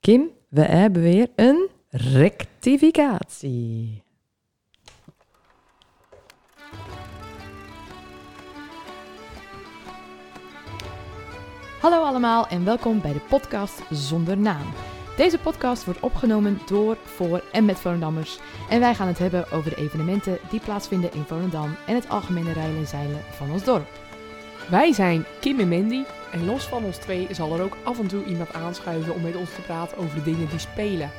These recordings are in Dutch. Kim, we hebben weer een rectificatie. Hallo allemaal en welkom bij de podcast Zonder Naam. Deze podcast wordt opgenomen door, voor en met Volendammers. En wij gaan het hebben over de evenementen die plaatsvinden in Volendam en het algemene rijden en zeilen van ons dorp. Wij zijn Kim en Mandy en los van ons twee zal er ook af en toe iemand aanschuiven om met ons te praten over de dingen die spelen.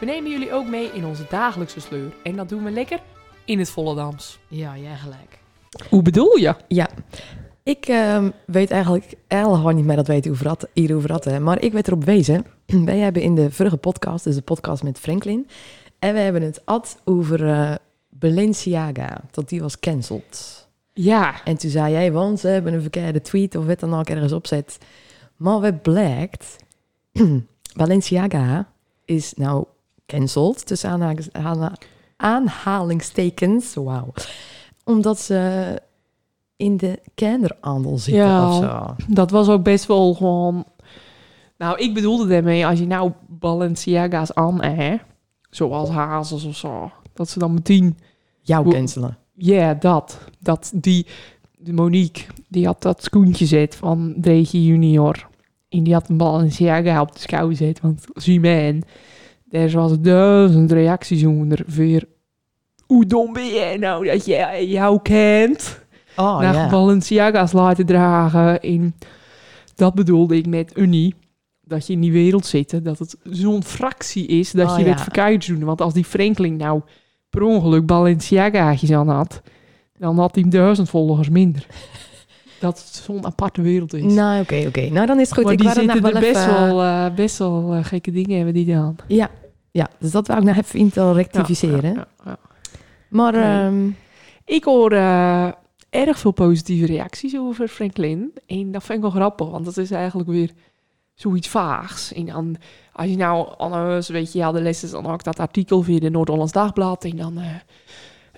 We nemen jullie ook mee in onze dagelijkse sleur en dat doen we lekker in het Volendams. Ja, jij gelijk. Hoe bedoel je? Ik ehm, weet eigenlijk helemaal niet meer dat weten hoe verrat, hier hoe verrat, hè. maar ik werd erop wezen. Wij hebben in de vorige podcast, dus de podcast met Franklin, en we hebben het ad over eh, Balenciaga, dat die was cancelled. Ja, En toen zei jij, want ze hebben een verkeerde tweet of wat dan ook ergens opzet. Maar wat blijkt, Balenciaga is nou cancelled, tussen aanhalingstekens, aanha- aanhalingstekens wauw. Omdat ze in de kinderhandel zitten Ja. of zo. dat was ook best wel gewoon... Nou, ik bedoelde daarmee, als je nou Balenciaga's aan, hè, zoals hazels of zo, dat ze dan meteen Jou Hoe- cancelen. Ja, dat. Dat die de Monique, die had dat schoentje zet van Dreetje junior. En die had een Balenciaga op de schouw zet. Want zie men, er was duizend reacties onder. Weer, hoe dom ben jij nou dat jij jou kent? Oh naar ja. Balenciaga's laten dragen. En dat bedoelde ik met Unie. Dat je in die wereld zit, dat het zo'n fractie is dat Oh, je ja. het verkuit doen. Want als die Franklin nou per ongeluk Balenciaga's aan had, dan had hij duizend volgers minder. dat het zo'n aparte wereld is. Nou, oké, oké. Nou, dan is het goed. maar ik die wou dat zitten nog er best even- wel, eh, best wel eh, gekke dingen hebben die dan. Ja, ja, dus dat wou ik nou even in te rectificeren. Ja, ja, ja. Maar Nee. ehm, Ik hoor eh, erg veel positieve reacties over Franklin. En dat vind ik wel grappig, want dat is eigenlijk weer zoiets vaags. En dan, als je nou, anders weet je, ja, de les is dan ook dat artikel via de Noord-Hollands Dagblad. En dan eh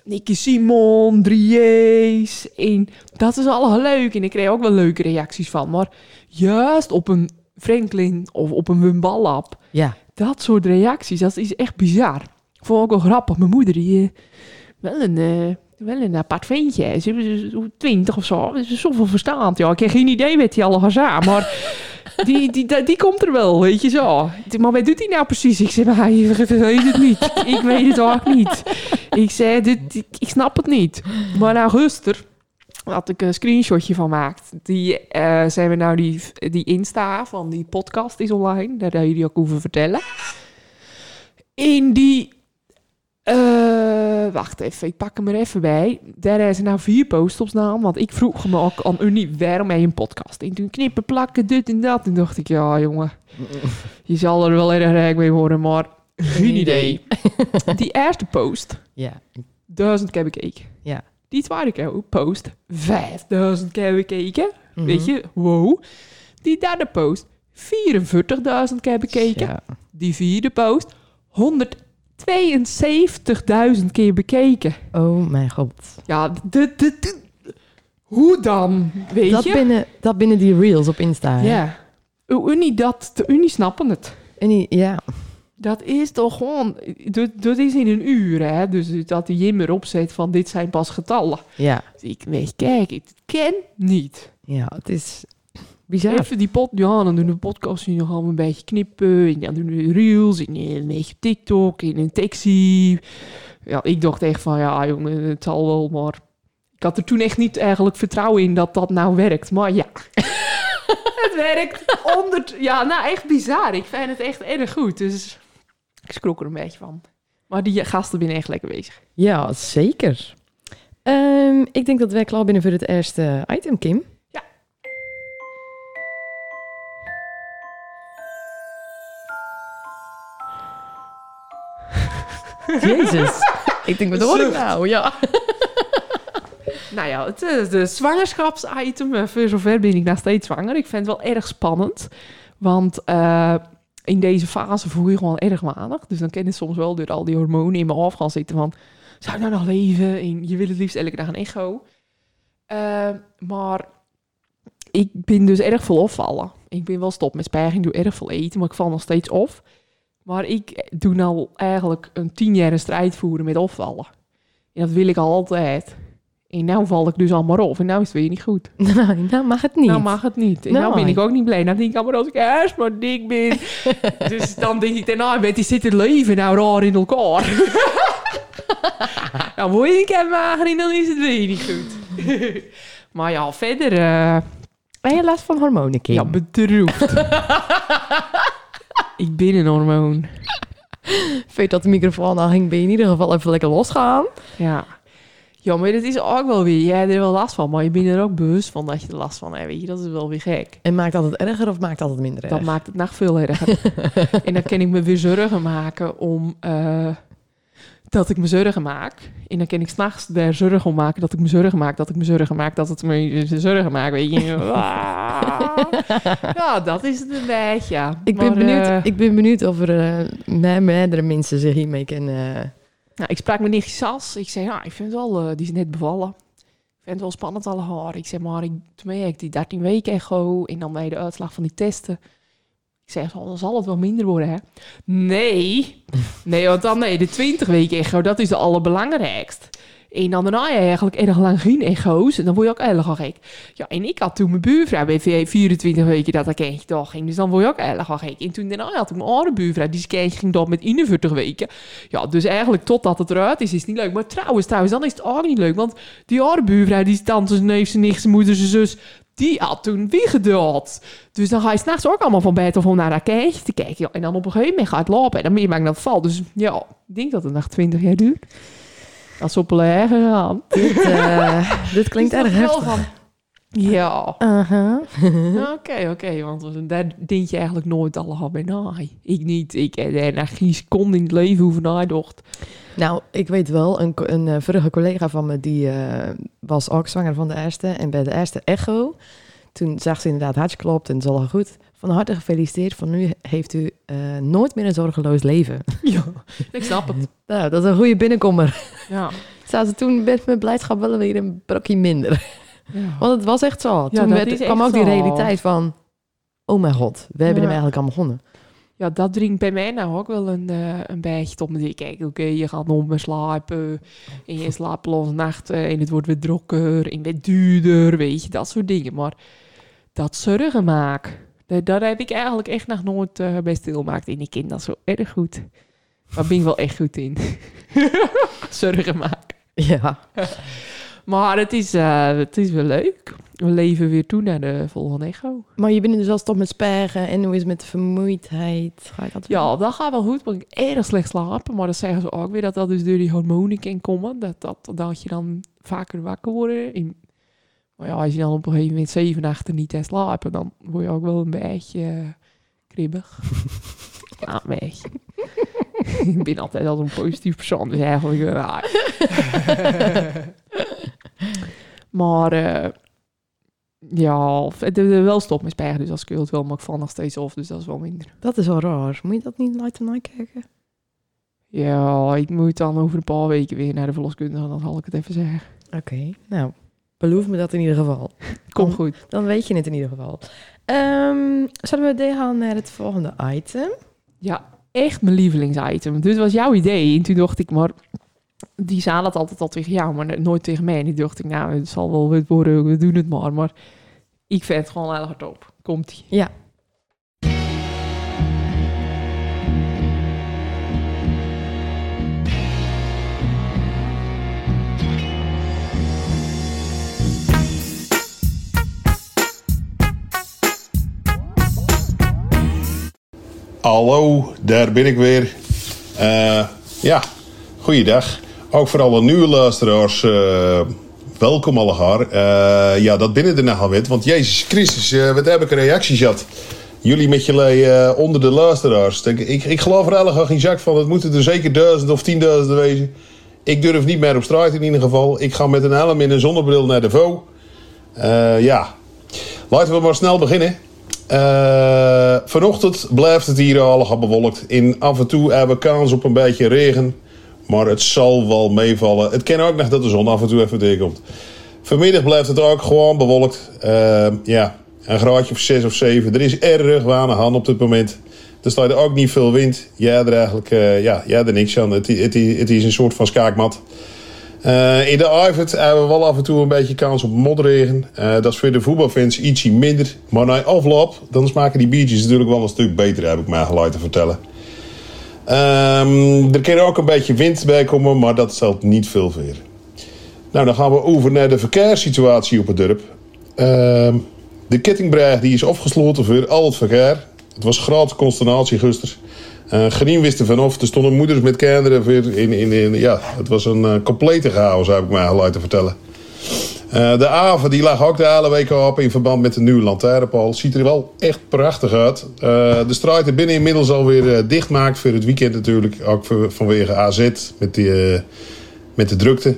Nicky Simon, Drieërs. En dat is allemaal leuk. En ik kreeg ook wel leuke reacties van. Maar juist op een Franklin of op een Wimballab ja. dat soort reacties, dat is echt bizar. Ik vond het ook wel grappig. Mijn moeder, die eh, wel een, eh, wel een apart ventje. Ze is twintig of zo. Ze is zoveel verstand. Ja, ik heb geen idee wat die allemaal zei, maar die, die, die, die komt er wel, weet je zo. Maar wat doet hij nou precies? Ik zeg, maar hij weet het niet. Ik weet het ook niet. Ik zei, dit, ik, ik snap het niet. Maar nou, Guster had ik een screenshotje van gemaakt. Die eh, zijn we nou die, die Insta van die podcast is online. Daar hebben jullie ook hoeven vertellen. In die... eh, wacht even, ik pak hem er even bij. Daar zijn nou vier posts op naam. Want ik vroeg me ook aan Unie, waarom heb je een podcast? En toen knippen, plakken, dit en dat. En dacht ik, ja jongen, je zal er wel erg rijk mee worden, maar geen idee. Die eerste post ja. duizend keer bekeken. Ja. Die tweede keer post, 5000 keer bekeken. Mhm. Weet je, wow. Die derde post, 44.000 keer bekeken. Ja. Die vierde post, 172.000 keer bekeken. Oh mijn god. Ja, de, de, de- hoe dan? Weet Dat je? binnen, dat binnen die reels op Insta. hè? Ja. De Unie, dat, de Unie snappen het. En die, ja. Dat is toch gewoon, dat, dat is in een uur, hè? Dus dat die jimmer opzet van dit zijn pas getallen. ja. Ik weet, kijk, ik ken niet. Ja, het is bizar. Even die pot, ja, dan doen we podcast en dan gaan we een beetje knippen. En dan doen we reels en een beetje TikTok en een taxi. Ja, ik dacht echt van, ja jongen, het zal wel, maar... Ik had er toen echt niet eigenlijk vertrouwen in dat dat nou werkt. Maar ja, het werkt. Onder, ja, nou echt bizar. Ik vind het echt erg goed. Dus ik schrok er een beetje van. Maar die gasten zijn echt lekker bezig. Ja, zeker. Ehm, ik denk dat wij klaar binnen voor het eerste item, Kim. Ja. Jezus. ik denk, wat hoor ik Zucht. nou? Ja. Nou ja, het is de zwangerschapsitem. Eh, Voor zover ben ik nog steeds zwanger. Ik vind het wel erg spannend. Want eh, in deze fase voel je gewoon erg manig. Dus dan ken je soms wel door al die hormonen in me af gaan zitten van... Zou ik nou nog leven? En je wil het liefst elke dag een echo. Eh, maar ik ben dus erg veel opvallen. Ik ben wel stop met spijging, doe erg veel eten, maar ik val nog steeds op. Maar ik doe nou eigenlijk een tien jaar een strijd voeren met opvallen. En dat wil ik al altijd. En nou val ik dus allemaal op. En nou is het weer niet goed. Nou, nou mag het niet. Nou mag het niet. En nou, Nou. ben ik ook niet blij. Nou denk ik allemaal als ik ergens maar dik ben. dus dan denk ik daarna, met die zit het leven nou raar in elkaar. nou word ik en mager en dan is het weer niet goed. maar ja, verder... eh, Ben je last van hormonen, Kim? ja, bedroefd. ik ben een hormoon. Weet dat de microfoon al ging, ben je in ieder geval even lekker losgaan. Ja. Ja, maar dat is ook wel weer... Jij hebt er wel last van, maar je bent er ook bewust van dat je er last van hebt. Weet je, dat is wel weer gek. En maakt dat het erger of maakt dat het minder erg? Dat maakt het nog veel erger. en dan kan ik me weer zorgen maken om... eh, dat ik me zorgen maak. En dan kan ik s'nachts daar zorgen om maken dat ik me zorgen maak. Dat ik me zorgen maak. Dat het me zorgen maakt. Weet je. Ah. ja, dat is het een beetje. ja. ik, ben Maar, benieuwd, eh, ik ben benieuwd of er eh, me- meerdere mensen zich hiermee kunnen... eh, Nou, ik sprak met nichtje Sas. Ik zei, ja, ik vind het wel, eh, die is net bevallen. Ik vind het wel spannend alle haar. Ik zeg maar, ik, toen heb ik die 13 weken echo en dan bij de uitslag van die testen. Ik zeg, dan zal het wel minder worden, hè? Nee. Nee, want dan, nee, de 20 weken echo, dat is de allerbelangrijkst. En dan daarna eigenlijk erg lang geen echo's. En dan word je ook erg al gek. Ja, en ik had toen mijn buurvrouw bij 24 weken dat dat kindje doorging. Dus dan word je ook erg al gek. En toen daarna had ik mijn andere buurvrouw, die kindje ging door met 41 weken. Ja, dus eigenlijk totdat het eruit is, is het niet leuk. Maar trouwens, trouwens, dan is het ook niet leuk. Want die andere buurvrouw, die tante, zijn neef, zijn nicht, zijn moeder, zijn zus... die had toen wiegedood. Dus dan ga je s'nachts ook allemaal van bed of om naar dat kijkje te kijken. joh. En dan op een gegeven moment gaat het lopen. En dan ben je bang dat het valt. Dus ja, ik denk dat het nog 20 jaar duurt. Dat is op een Dus erger gaan. dit, eh, dit klinkt erg heftig. Ja, Aha. oké, oké. want daar denk je eigenlijk nooit allemaal bij na. Ah, Ik niet. Ik heb daar geen seconde in het leven hoeven nadocht. Nou, ik weet wel, een, co- een eh, vorige collega van me, die eh, was ook zwanger van de eerste. En bij de eerste echo, toen zag ze inderdaad hartsklopt en het is allemaal goed. Van harte gefeliciteerd, van nu heeft u eh, nooit meer een zorgeloos leven. Ja, ik snap het. Nou, dat is een goede binnenkomer. Ja. Zaten ze toen met mijn blijdschap wel weer een brokje minder. Ja. Want het was echt zo. Ja, Toen dat werd, is kwam echt ook die zo. realiteit van, oh mijn god, we hebben Ja. hem eigenlijk allemaal gewonnen. Ja, dat dringt bij mij nou ook wel een, eh een beetje op. Ik kijk, oké, je gaat nog meer slapen. En je slaapt los nachten. En het wordt weer drukker. En weer duurder. Weet je, dat soort dingen. Maar dat zorgen maken. da- Daar heb ik eigenlijk echt nog nooit eh, bij stilgemaakt. En ik ken dat zo erg goed. Daar ben ik wel echt goed in. zorgen maken. Ja, Maar het is, eh, het is wel leuk. We leven weer toe naar de volgende echo. maar je bent dus al stop met spergen en hoe is het met vermoeidheid? Ga je dat Ja, dat gaat wel goed, want ik erg slecht slapen. Maar dat zeggen ze ook weer, dat dat dus door die hormonen kan komen. Dat, dat, dat je dan vaker wakker wordt. En, maar ja, als je dan op een gegeven moment zeven nachten niet hebt slapen, dan word je ook wel een beetje eh, kribbig. ja, een beetje. ik ben altijd al een positief persoon, dus eigenlijk wel raar. maar eh, ja, het is wel stop met spijgen, dus als ik het wel, maar ik val nog steeds af, dus dat is wel minder. Dat is wel raar. Moet je dat niet laten nakijken? Ja, ik moet dan over een paar weken weer naar de verloskundige, dan zal ik het even zeggen. Oké, nou, beloof me dat in ieder geval. Kom Dan- goed. Dan weet je het in ieder geval. Ehm, zullen we gaan naar het volgende item? Ja, echt mijn lievelingsitem. Dit was jouw idee. En toen dacht ik, maar die zaal het altijd al tegen jou, maar nooit tegen mij. En toen dacht ik, nou, het zal wel wat worden, we doen het maar. Maar ik vind het gewoon heel hard op. Komt-ie. Ja. Hallo, daar ben ik weer. Eh, ja, goeiedag. Ook voor alle nieuwe luisteraars, eh, welkom allegaar. Eh ja, dat binnen de nogal wit, want Jezus Christus, eh, wat heb ik reacties gehad. Jullie met jullie eh, onder de luisteraars. Ik, ik, ik geloof er eigenlijk geen zak van, het moeten er zeker duizend of tienduizenden wezen. Ik durf niet meer op straat in ieder geval. Ik ga met een helm en een zonnebril naar de VO. Eh, ja, Laten we maar snel beginnen. Eh, vanochtend blijft het hier allemaal bewolkt. In af en toe hebben we kans op een beetje regen. Maar het zal wel meevallen. Het kan ook nog dat de zon af en toe even tegenkomt. Vanmiddag blijft het ook gewoon bewolkt. Eh, ja, een graadje of 6 of 7. Er is erg weinig aan op dit moment. Er staat er ook niet veel wind. Ja, er eigenlijk eh, ja, ja, er niks aan. Het, i- het, i- het is een soort van schaakmat. Eh, in de Ivert hebben we wel af en toe een beetje kans op modregen. Eh, dat is voor de voetbalfans ietsje minder. Maar na afloop, dan smaken die biertjes natuurlijk wel een stuk beter, heb ik mij geluid te vertellen. Ehm, er kan ook een beetje wind bij komen, maar dat stelt niet veel voor. Nou, dan gaan we over naar de verkeerssituatie op het dorp. Ehm, de kettingbrug die is afgesloten voor al het verkeer. Het was grote consternatie gisteren. Eh Green wist er vanaf. Er stonden moeders met kinderen. Voor in, in, in, ja, het was een eh, complete chaos, heb ik mij al laten vertellen. Eh, de haven die lag ook de hele week op in verband met de nieuwe lantaarnpaal. Ziet er wel echt prachtig uit. Eh, de straat er binnen inmiddels alweer eh, dichtmaakt voor het weekend natuurlijk. Ook voor- vanwege AZ met, die, eh, met de drukte.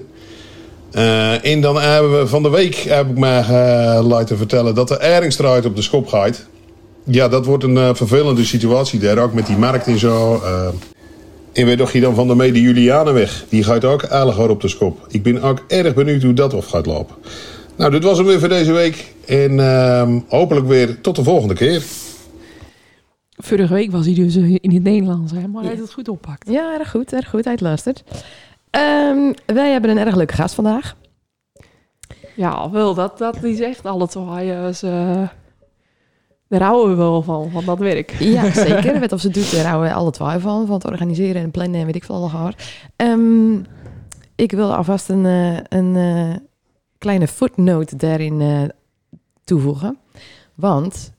Eh, en dan hebben we van de week, heb ik mij eh laten vertellen, dat de Eringstraat op de schop gaat. Ja, dat wordt een eh, vervelende situatie daar ook met die markt en zo. eh. en weet nog je dan van de mede Julianenweg. Die gaat ook aardig hard op de schop. Ik ben ook erg benieuwd hoe dat of gaat lopen. Nou, dit was hem weer voor deze week. En ehm, hopelijk weer tot de volgende keer. Vorige week was hij dus eh, in het Nederlands, hè, maar hij heeft het goed oppakt. Ja, erg goed, erg goed. Hij luistert. Ehm, wij hebben een erg leuke gast vandaag. Ja, wel, dat, dat is echt alle twee. eh, is, eh, daar houden we wel van, van dat werk. Ja, zeker. Weet of ze het doet, daar houden we alle twee van. Van het organiseren en plannen en weet ik veel allemaal. Ehm ik wil alvast een, eh, een eh, kleine footnote daarin eh, toevoegen. Want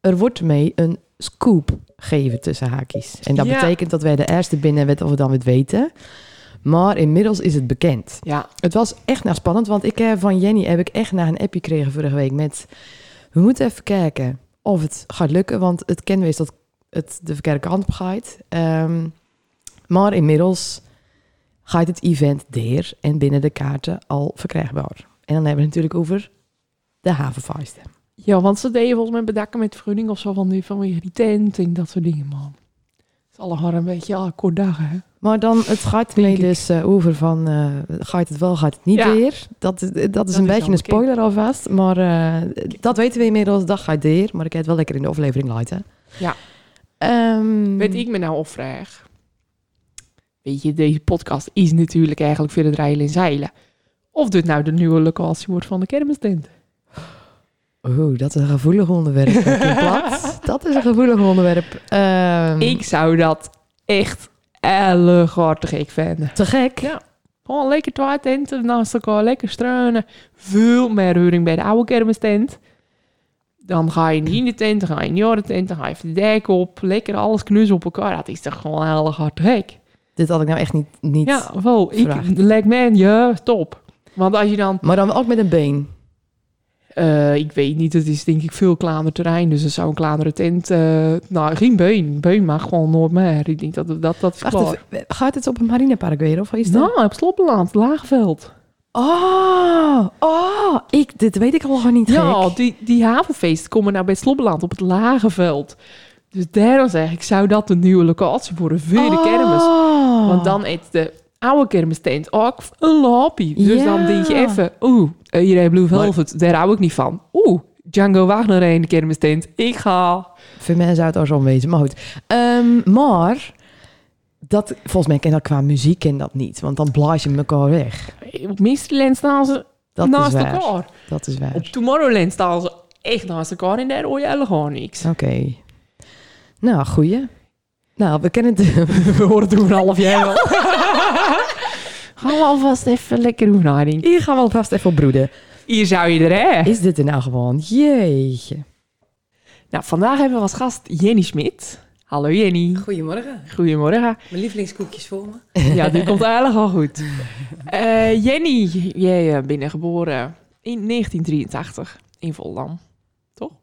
er wordt mee een scoop gegeven tussen haakjes. En dat Ja. betekent dat wij de eerste binnen weten of we dan het weten. Maar inmiddels is het bekend. Ja, Het was echt nou spannend, want ik, eh, van Jenny heb ik echt naar een appje gekregen vorige week met... We moeten even kijken of het gaat lukken, want het kenwees dat het de verkeerde kant op gaat. Ehm, maar inmiddels gaat het event deer en binnen de kaarten al verkrijgbaar. En dan hebben we het natuurlijk over de havenfeesten. ja want ze deden volgens mij bedakken met vergunning of zo van die, vanwege die tent en dat soort dingen, man. Het is allemaal een beetje ja, kort dagen, hè. Maar dan, het gaat Denk mee ik. dus eh, over van, eh, gaat het wel, gaat het niet Ja. weer. Dat, is- dat is is een al beetje een bekend. spoiler alvast, maar eh, dat weten we inmiddels, dat gaat weer. Maar ik heb het wel lekker in de aflevering laten. Ja. Ehm, Weet ik me nou opvraag. Weet je, deze podcast is natuurlijk eigenlijk voor het rijden en zeilen. Of dit nou de nieuwe locatie wordt van de kermistent. Oeh, dat is een gevoelig onderwerp. Kim Plat. dat is een gevoelig onderwerp. Ehm, Ik zou dat echt erg ik vinden. Te gek. Ja. Gewoon lekker twee tenten naast elkaar, lekker struinen. Veel meer reuring bij de oude kermistent. Dan ga je in die ene tent, dan ga je in die andere tent, dan ga je even de dijk op. Lekker alles knuzzelen op elkaar. Dat is toch gewoon heel hard gek. Dit had ik nou echt niet... niet. Ja, wow, ik, Vraagt. lijkt mij, ja, top. Want als je dan Maar dan ook met een been. Eh, ik weet niet, het is denk ik veel kleiner terrein. Dus er zou een kleinere tent... eh, nou, geen beun. Beun mag gewoon nooit meer. Ik denk dat dat, dat is Wacht klaar. even, gaat het op een marinepark weer? Of is dat... Nou, op Sloppenland, Laagveld. Oh, oh, ik, dit weet ik al gewoon niet Ja, gek. die, die havenfeesten komen nou bij Sloppenland op het Laagveld. Dus daarom zeg ik, zou dat de nieuwe locatie worden voor de kermis? Oh. Want dan eet de oude kermistent ook een loppie. Dus Ja. dan denk je even, oeh, eh, hier heb Blue Maar- Velvet, daar hou ik niet van. Oeh, Django Wagner in de kermistent. Ik ga... Voor mij zou het al zo wezen, maar goed. Ehm, maar, dat, volgens mij ken dat qua muziek ken dat niet. Want dan blaas je elkaar weg. Op Misterland staan ze Dat naast is waar. elkaar. Dat is waar. Op Tomorrowland staan ze echt naast elkaar en daar hoor je helemaal gewoon niks. Oké. Nou, goeie. Nou, we kennen het. We horen toen een half jaar wel. Gaan we alvast even lekker doen, Haring. Hier gaan we alvast even op broeden. Hier zou je er, hè? Is dit er nou gewoon? Jeetje. Nou, vandaag hebben we als gast Jenny Smit. Hallo Jenny. Goedemorgen. Goedemorgen. Mijn lievelingskoekjes voor me. Ja, die komt eigenlijk al goed. Eh, Jenny, jij eh, bent geboren in 1983 in Volendam.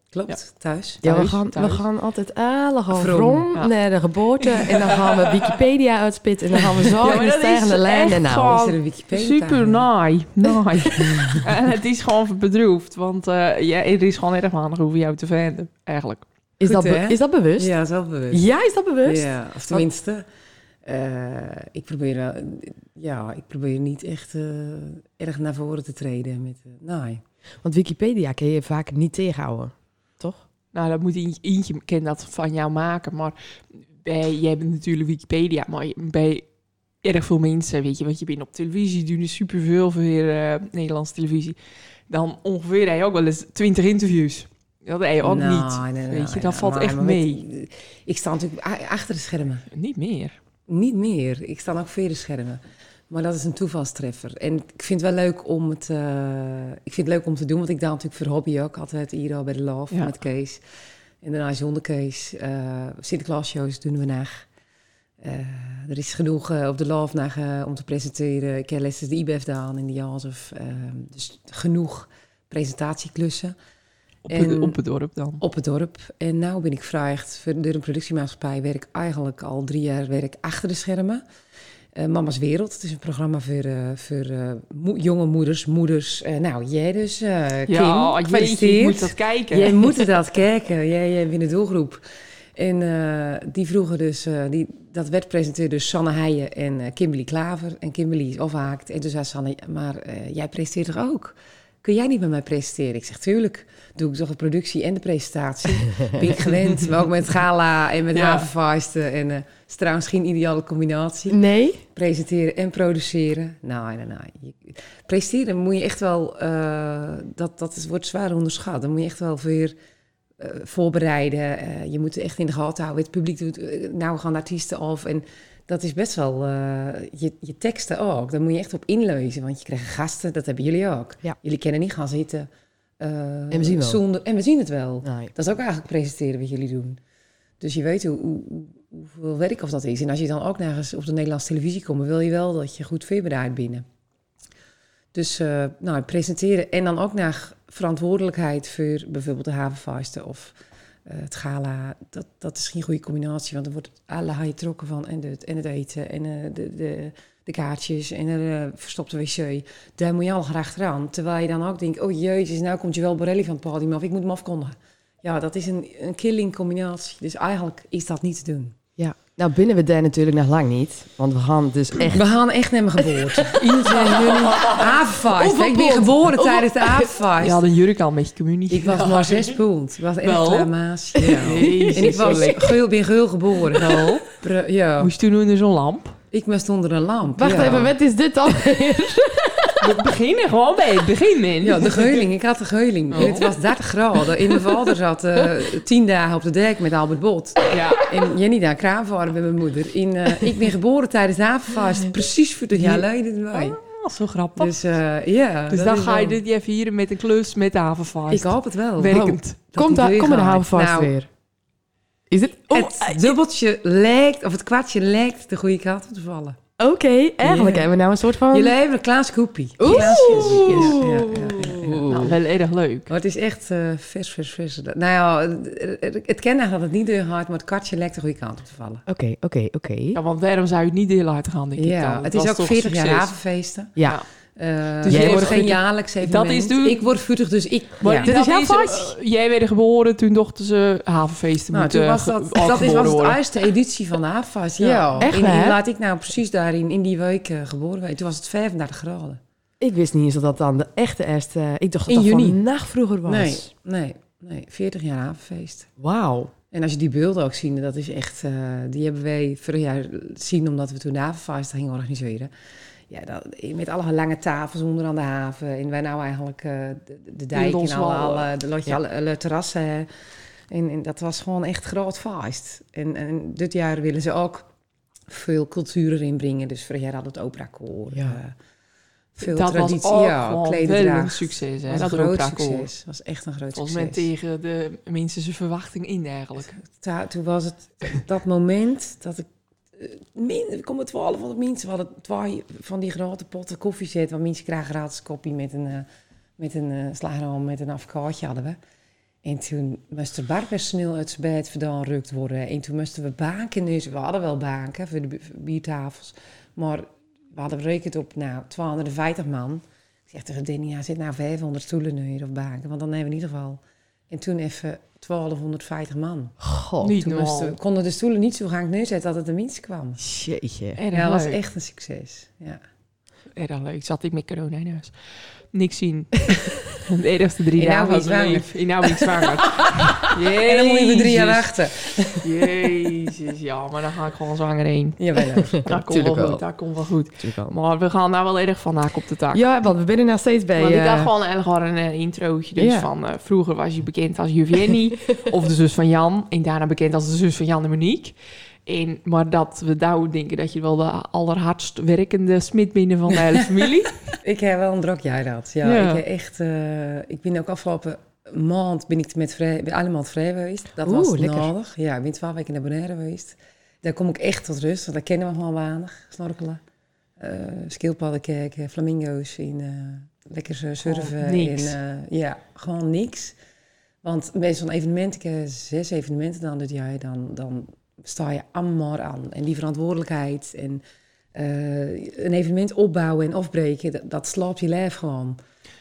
Klopt, thuis. Ja, we Thuis, gaan, we thuis. gaan altijd allemaal Vroom. vrom Ja. naar de geboorte. En dan gaan we Wikipedia uitspitten. En dan gaan we zo maar in de dat is stijgende lijn. echt En nou, gewoon- Is er een Wikipedia? Super naai. Naai. en het is gewoon bedroefd, want eh, ja, er is gewoon erg weinig over jou te vinden, eigenlijk. is, Goed, dat be- hè? is dat bewust? Ja, Ja, zelfbewust. is dat bewust? Ja, of tenminste, eh, ik, probeer, wel- ja, ik probeer niet echt eh, erg naar voren te treden met eh, naai. Want Wikipedia kun je vaak niet tegenhouden, toch? Nou, dat moet eentje, eentje kan dat van jou maken. Maar bij, jij bent natuurlijk Wikipedia, maar je- bij erg veel mensen, weet je, want je bent op televisie, doen er superveel voor eh, Nederlandse televisie. Dan ongeveer heb je ook wel eens 20 interviews. Dat heb je ook niet. Nou, nee, weet nou, je, dat ja, valt maar- echt maar mee. weet- ik sta natuurlijk a- achter de schermen. Niet meer. Niet meer. Ik sta ook voor de schermen. Maar dat is een toevalstreffer. En ik vind het wel leuk om het, eh, ik vind het leuk om te doen, want ik daar natuurlijk voor hobby ook altijd hier al bij de Love Ja. met Kees. En daarna zonder Kees. eh Sinterklaas-shows doen we naar. Eh, er is genoeg eh, op de Love naar, eh, om te presenteren. Ik heb lessen de IBEF gedaan in de Jazef. eh dus genoeg presentatieklussen Op, het, En- op het dorp dan. op het dorp. En nu ben ik gevraagd voor door een productiemaatschappij. Werk ik eigenlijk al drie jaar werk achter de schermen. Eh, Mama's Wereld, het is een programma voor, eh, voor eh, mo- jonge moeders, moeders. Eh, nou, jij dus, eh Kim, ja, jeetje, je gefeliciteerd. moet dat kijken. Jij moet dat kijken, jij, jij bent in de doelgroep. En eh, die vroegen dus, eh, die, dat werd presenteerd door Sanne Heijen en eh, Kimberly Klaver. En Kimberly is afhaakt. En toen zei Sanne, maar eh, jij presenteert toch ook? Kun jij niet met mij presenteren? Ik zeg, tuurlijk. Doe ik toch de productie en de presentatie. ben ik gewend, maar ook met gala en met Ja. havenvaarsten. En eh het is trouwens geen ideale combinatie Nee? presenteren en produceren. Nee, nee, nee. Nou, Je- Presenteren moet je echt wel... eh, dat, dat is, wordt zwaar onderschat. Dan moet je echt wel weer eh, voorbereiden. Eh, je moet het echt in de gaten houden. Het publiek doet... eh, nou gaan de artiesten af. En dat is best wel... eh, je, je teksten ook. Daar moet je echt op inlezen. Want je krijgt gasten. Dat hebben jullie ook. Ja. Jullie kunnen niet gaan zitten... eh, we zien wel. Zonder, en we zien het wel. Nee. Dat is ook eigenlijk presenteren wat jullie doen. Dus je weet hoe, hoe, hoe- hoeveel werk of dat is. En als je dan ook nergens op de Nederlandse televisie komt, wil je wel dat je goed voorbereid binnen. Dus eh, nou, presenteren en dan ook naar verantwoordelijkheid voor bijvoorbeeld de havenvaarsten of eh, het gala. Dat, dat is geen goede combinatie, want er wordt alle haaien trokken van en het, en het eten en eh, de, de, de kaartjes en een eh, verstopte wc. Daar moet je al graag achteraan. Terwijl je dan ook denkt, oh jezus, nou komt je wel Borelli van het podium af, ik moet hem afkondigen. Ja, dat is een, een killing combinatie. Dus eigenlijk is dat niet te doen. Ja. Nou, binnen we daar natuurlijk nog lang niet. Want we gaan dus echt... We gaan echt naar mijn geboorte. 21 juni, havenfeest. Ik ben geboren tijdens de Je havenfeest. had een jurk al met je communie. Ik was maar zes pond. Ik was echt Wel. een klein maasje. En ik was geul, ben geul geboren. Pre- Ja, Moest je toen onder zo'n lamp? ik moest onder een lamp. Wacht ja. even, wat is dit dan? We beginnen gewoon bij het begin, man. Ja, de geuling. Ik had de geuling. Oh. En het was 30 graden. In mijn vader zat eh, tien dagen op de dek met Albert Bot. ja. En Jenny daar kraanvaren bij mijn moeder. In, eh, ik ben geboren tijdens de havenvast. Precies voor de jaar geleden. Oh, zo grappig. Dus, Dus eh, ja. dat dan is ga je wel- dit je vieren met een klus met de havenvaart. Ik hoop het wel. Oh. Werkend. Dat Komt die daar, weer kom maar de gaat. houvast Nou, weer. Is dit... Oh, Het dubbeltje lijkt, of het kwartje lijkt de goede kant op te vallen. Oké, eigenlijk Ja. hebben we nou een soort van... Jullie hebben een klein scoopie. Oeh. Klein scoopje. Ja, ja, ja, ja. Nou, wel erg leuk. Maar het is echt eh, vers, vers, vers. Nou ja, het- het kennen dat het niet deurhard, maar het kwartje lijkt de goede kant op te vallen. Oké, oké, oké. Ja, want waarom zou je het niet heel hard gaan, denk ik Ja, dan? het Dat is ook toch 40 jaar succes? havenfeesten. Ja. Eh Dus jij dus jij wordt wordt geen vuurtig. jaarlijks is evenement. doen- Ik word vuurtig, dus ik... Maar ja. dit is dat jouw eh, vast. jij werd geboren, toen dochten ze havenfeesten Nou, moeten toen was ge- dat, al dat is, was geboren het eh, worden. eerste editie van de AFAS. Ja, echt En- en waar? laat ik nou precies daarin, in die week eh, geboren zijn. Toen was het 35 graden. Ik wist niet eens dat dat dan de echte eerste... Ik dacht dat In dat juni. van nacht vroeger was. Nee, nee, nee. 40 jaar havenfeest. Wauw. En als je die beelden ook ziet, dat is echt... eh, die hebben wij vorig jaar zien omdat we toen de havenfeest gingen organiseren. Ja, dat, met alle lange tafels onder aan de haven. En wij nou eigenlijk eh, de, de dijk en alle, Loswallen. alle, de, lotje, Ja. alle, alle terrassen. hè. En, en dat was gewoon echt groot feest. En, en dit jaar willen ze ook veel cultuur erin brengen. Dus vorig jaar had het opera koor. eh, Ja. veel dat traditie. was ook ja, gewoon wel klederdracht. een succes. Hè? was Dat een groot opera koor. succes. was echt een groot Volgens mij succes. tegen de mensen zijn verwachting in eigenlijk. Ta- toen was het dat moment dat ik... eh, min- Er komen twaalf van de mensen. We hadden twee van die grote potten koffie zetten. Want mensen krijgen gratis koffie met een, eh, met een eh, slagroom, met een afkaartje hadden we. En toen moest er barpersoneel uit zijn bed vandaan rukt worden. En toen moesten we banken dus. We hadden wel banken voor de bu- voor biertafels. Maar we hadden berekend op nou, 250 man. Ik zeg tegen Danny, ja, zit nou 500 stoelen nu hier of banken. Want dan hebben we in ieder geval... En toen even 1250 man. God. niet Toen normaal. moesten, konden de stoelen niet zo gang neerzetten dat het de minst kwam. Jeetje. Erg Ja, dat was leuk. echt een succes. Ja. Erg leuk. Zat ik met corona in huis. Niks zien. De eerste drie En dagen nou weer was mijn zwanger. leven. En nou weer zwanger. Jezus. En dan moet je weer drie jaar wachten. Jezus, ja, maar dan ga ik gewoon zwanger heen. Jawel. Dat komt wel tuurlijk wel. goed, dat komt wel goed. Maar we gaan daar wel erg van haak op de taak. Ja, want we binnen nog steeds bij... Want ik had eh, gewoon erg wel een eh, introotje. Dus Ja. van eh, vroeger was je bekend als Juvenny of de zus van Jan. En daarna bekend als de zus van Jan en Monique. En, maar dat we nou denken dat je wel de allerhardst werkende smid binnen van de hele familie. Ik heb wel een druk jaar gehad. Ja, Ja. Ik, heb echt, eh, ik ben ook afgelopen maand ben ik met vrij, met alle maand vrij geweest. Dat Oeh, was lekker. nodig. Ja, ik ben twaalf weken naar Bonaire geweest. Daar kom ik echt tot rust, want daar kennen we gewoon weinig. Snorkelen, eh skilpadden kijken, flamingo's in, eh, lekker eh, surfen. Gewoon niks. En, eh, ja, gewoon niks. Want meestal een evenement, ik heb zes evenementen dan dit jaar, dan, dan sta je allemaal aan. En die verantwoordelijkheid en eh, een evenement opbouwen en afbreken, dat, dat slaapt je lijf gewoon.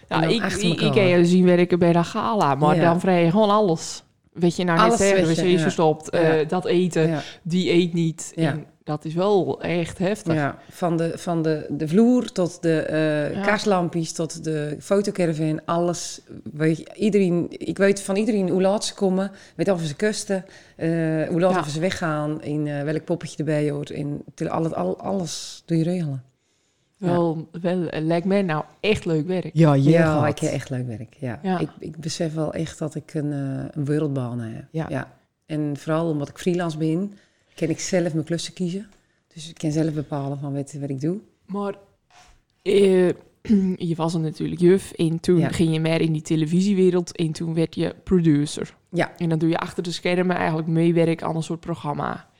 En Ja, dan ik, achter ik, ik Nou, elkaar. heb je zien werken bij de gala. Maar Ja. dan vrij je gewoon alles. Weet je, nou net Alles zeggen, weet wc's je, ja. verstopt, Ja. eh, dat eten, Ja. die eet niet. Ja. En dat is wel echt heftig. Ja, van de, van de, de vloer tot de eh Ja. kaarslampjes, tot de fotocaravan, alles. Weet je, iedereen, ik weet van iedereen hoe laat ze komen, weet of ze kusten, eh, hoe laat Ja. of ze weggaan, in eh, welk poppetje erbij hoort. In, al, al, alles doe je regelen. Wel, wel, eh, lijkt mij nou echt leuk werk. Ja, je ja, gehad. ik heb echt leuk werk. Ja. Ja. Ik, ik besef wel echt dat ik een, eh, een wereldbaan heb. Ja. En vooral omdat ik freelance ben, kan ik zelf mijn klussen kiezen. Dus ik kan zelf bepalen van wat, wat ik doe. Maar eh, je was er natuurlijk juf en toen Ja. ging je meer in die televisiewereld en toen werd je producer. Ja. En dan doe je achter de schermen eigenlijk meewerk aan een soort programma.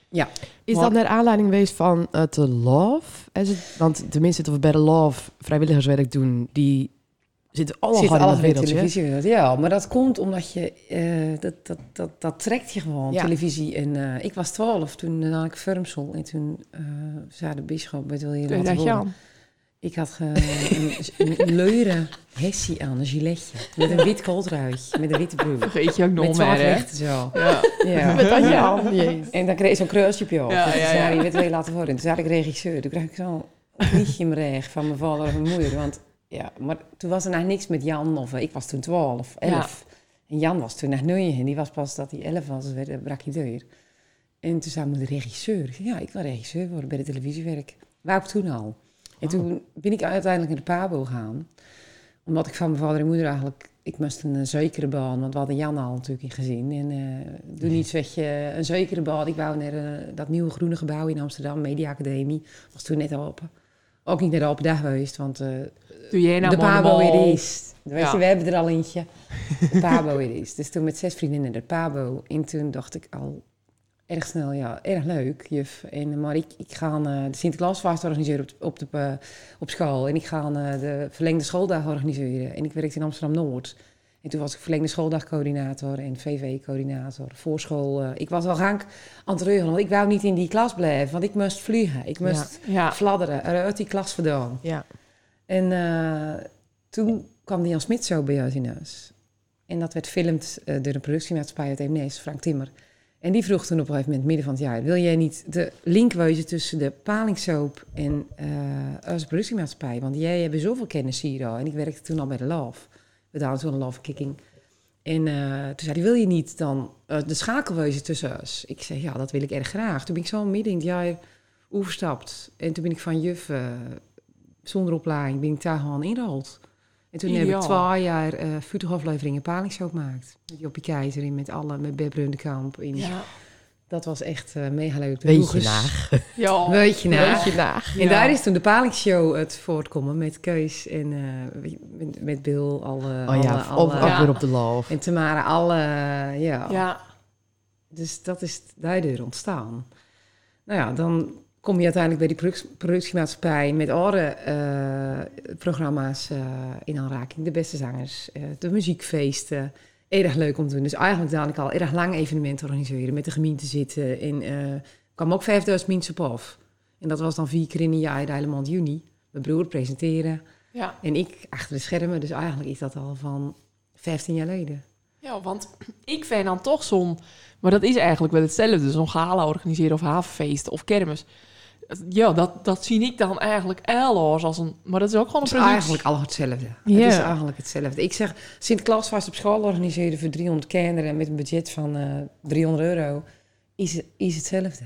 Is Maar- dat naar aanleiding geweest van het Love? Is het, want tenminste, dat we bij de Love vrijwilligerswerk doen, die zitten allemaal Zit gewoon in alles dat bij de wereldje. televisiewereld. Ja, maar dat komt omdat je... eh, dat, dat, dat, dat trekt je gewoon, Ja. televisie. En eh, ik was twaalf toen eh, had ik Vermsel. En toen eh zei de bisschop, wat wil je Toen laten dacht je horen? aan. Ik had ge- een, een leuren hessie aan, een giletje. Met een wit kooltruitje, met een witte broek. Vergeet je ook Met nog twaalf meer, hè? rechten zo. Ja. Ja. Wat had je aan? Jezus. En dan kreeg je zo'n kruisje op je hoofd. Ja, Ja, ja, Toen zei ja. hij, wat wil je laten worden? Toen zei ik regisseur. Toen kreeg ik zo'n vliegje in mijn rug van mijn vader of mijn moeder. Want ja, maar toen was er nog niks met Jan. Of, eh, ik was toen 12, 11. En Jan was toen nog negen. Die was pas dat hij 11 was, werd, eh, brak hij deur. En toen zei mijn regisseur. Ik zei, ja, ik wil regisseur worden bij de televisiewerk. Waar ik toen al. En toen ben ik uiteindelijk naar de Pabo gegaan. Omdat ik van mijn vader en moeder eigenlijk... Ik moest een eh, zekere baan, want we hadden Jan al natuurlijk in gezin. En eh, doe niet zeg je een zekere baan. Ik wou naar eh, dat nieuwe groene gebouw in Amsterdam, Media Academie. Was toen net open. Ook niet naar de open dag geweest, want eh, Doe jij nou de maar Pabo mal. weer is. Weet Ja. je, we hebben er al eentje. De Pabo weer is. Dus toen met zes vriendinnen de Pabo. En toen dacht ik al erg snel, ja, erg leuk, juf. En, maar ik, ik ga eh, de Sinterklaasfeest organiseren op, de- op, de, eh, op school. En ik ga eh, de verlengde schooldag organiseren. En ik werkte in Amsterdam-Noord. En toen was ik verlengde schooldagcoördinator en VV-coördinator, voorschool. eh, ik was al rank aan het reugelen, want ik wou niet in die klas blijven. Want ik moest vliegen, ik moest Ja. fladderen, eruit die klas vandaan. Ja. En eh, toen kwam de Jan Smit zo bij ons in huis. En dat werd gefilmd eh, door een productiemaatschappij uit Eemnes, Frank Timmer. En die vroeg toen op een gegeven moment, midden van het jaar... wil jij niet de link wezen tussen de palingsoap en eh onze productiemaatschappij? Want jij hebt zoveel kennis hier al. En ik werkte toen al bij de Love. We hadden toen een Love Kicking. En eh, toen zei hij, wil je niet dan eh, de schakel wezen tussen ons? Ik zei, ja, dat wil ik erg graag. Toen ben ik zo midden in het jaar overstapt. En toen ben ik van juf eh, zonder opleiding ben ik daar gewoon ingerold. En toen heb Ideaal. ik twee jaar eh 40 afleveringen palingsoap gemaakt. Met Joppie Keizer en met alle, met Beb Rundekamp. En Ja. Dat was echt eh, mega leuk. De Weet je Roegers. naag. Ja. Weet je nou? na. Weet je naag. En Ja. daar is toen de palingshow het voortkomen met Keus en eh, weet je, met, met Bill. Alle, Oh ja, alle, of- alle- ook Ja. weer op de Love. En Tamara, alle, ja. Ja. Dus dat is daardoor ontstaan. Nou ja, dan kom je uiteindelijk bij die product- productiemaatschappij met andere eh, programma's eh, in aanraking. De beste zangers, eh, de muziekfeesten. Erg leuk om te doen. Dus eigenlijk dadelijk al erg lang evenementen organiseren, met de gemeente zitten. En eh, kwam ook 5000 mensen op af. En dat was dan vier keer in een jaar, de hele maand juni. Mijn broer presenteren Ja. en ik achter de schermen. Dus eigenlijk is dat al van 15 jaar geleden. Ja, want ik vind dan toch zo'n... Maar dat is eigenlijk wel hetzelfde. Zo'n gala organiseren of havenfeest of kermis. Ja, dat, dat zie ik dan eigenlijk elders als een... Maar dat is ook gewoon een Het is productie. Dus eigenlijk al hetzelfde. Ja. Het is eigenlijk hetzelfde. Ik zeg, Sinterklaas vast op school organiseren voor 300 kinderen met een budget van eh, 300 euro. Is, is hetzelfde.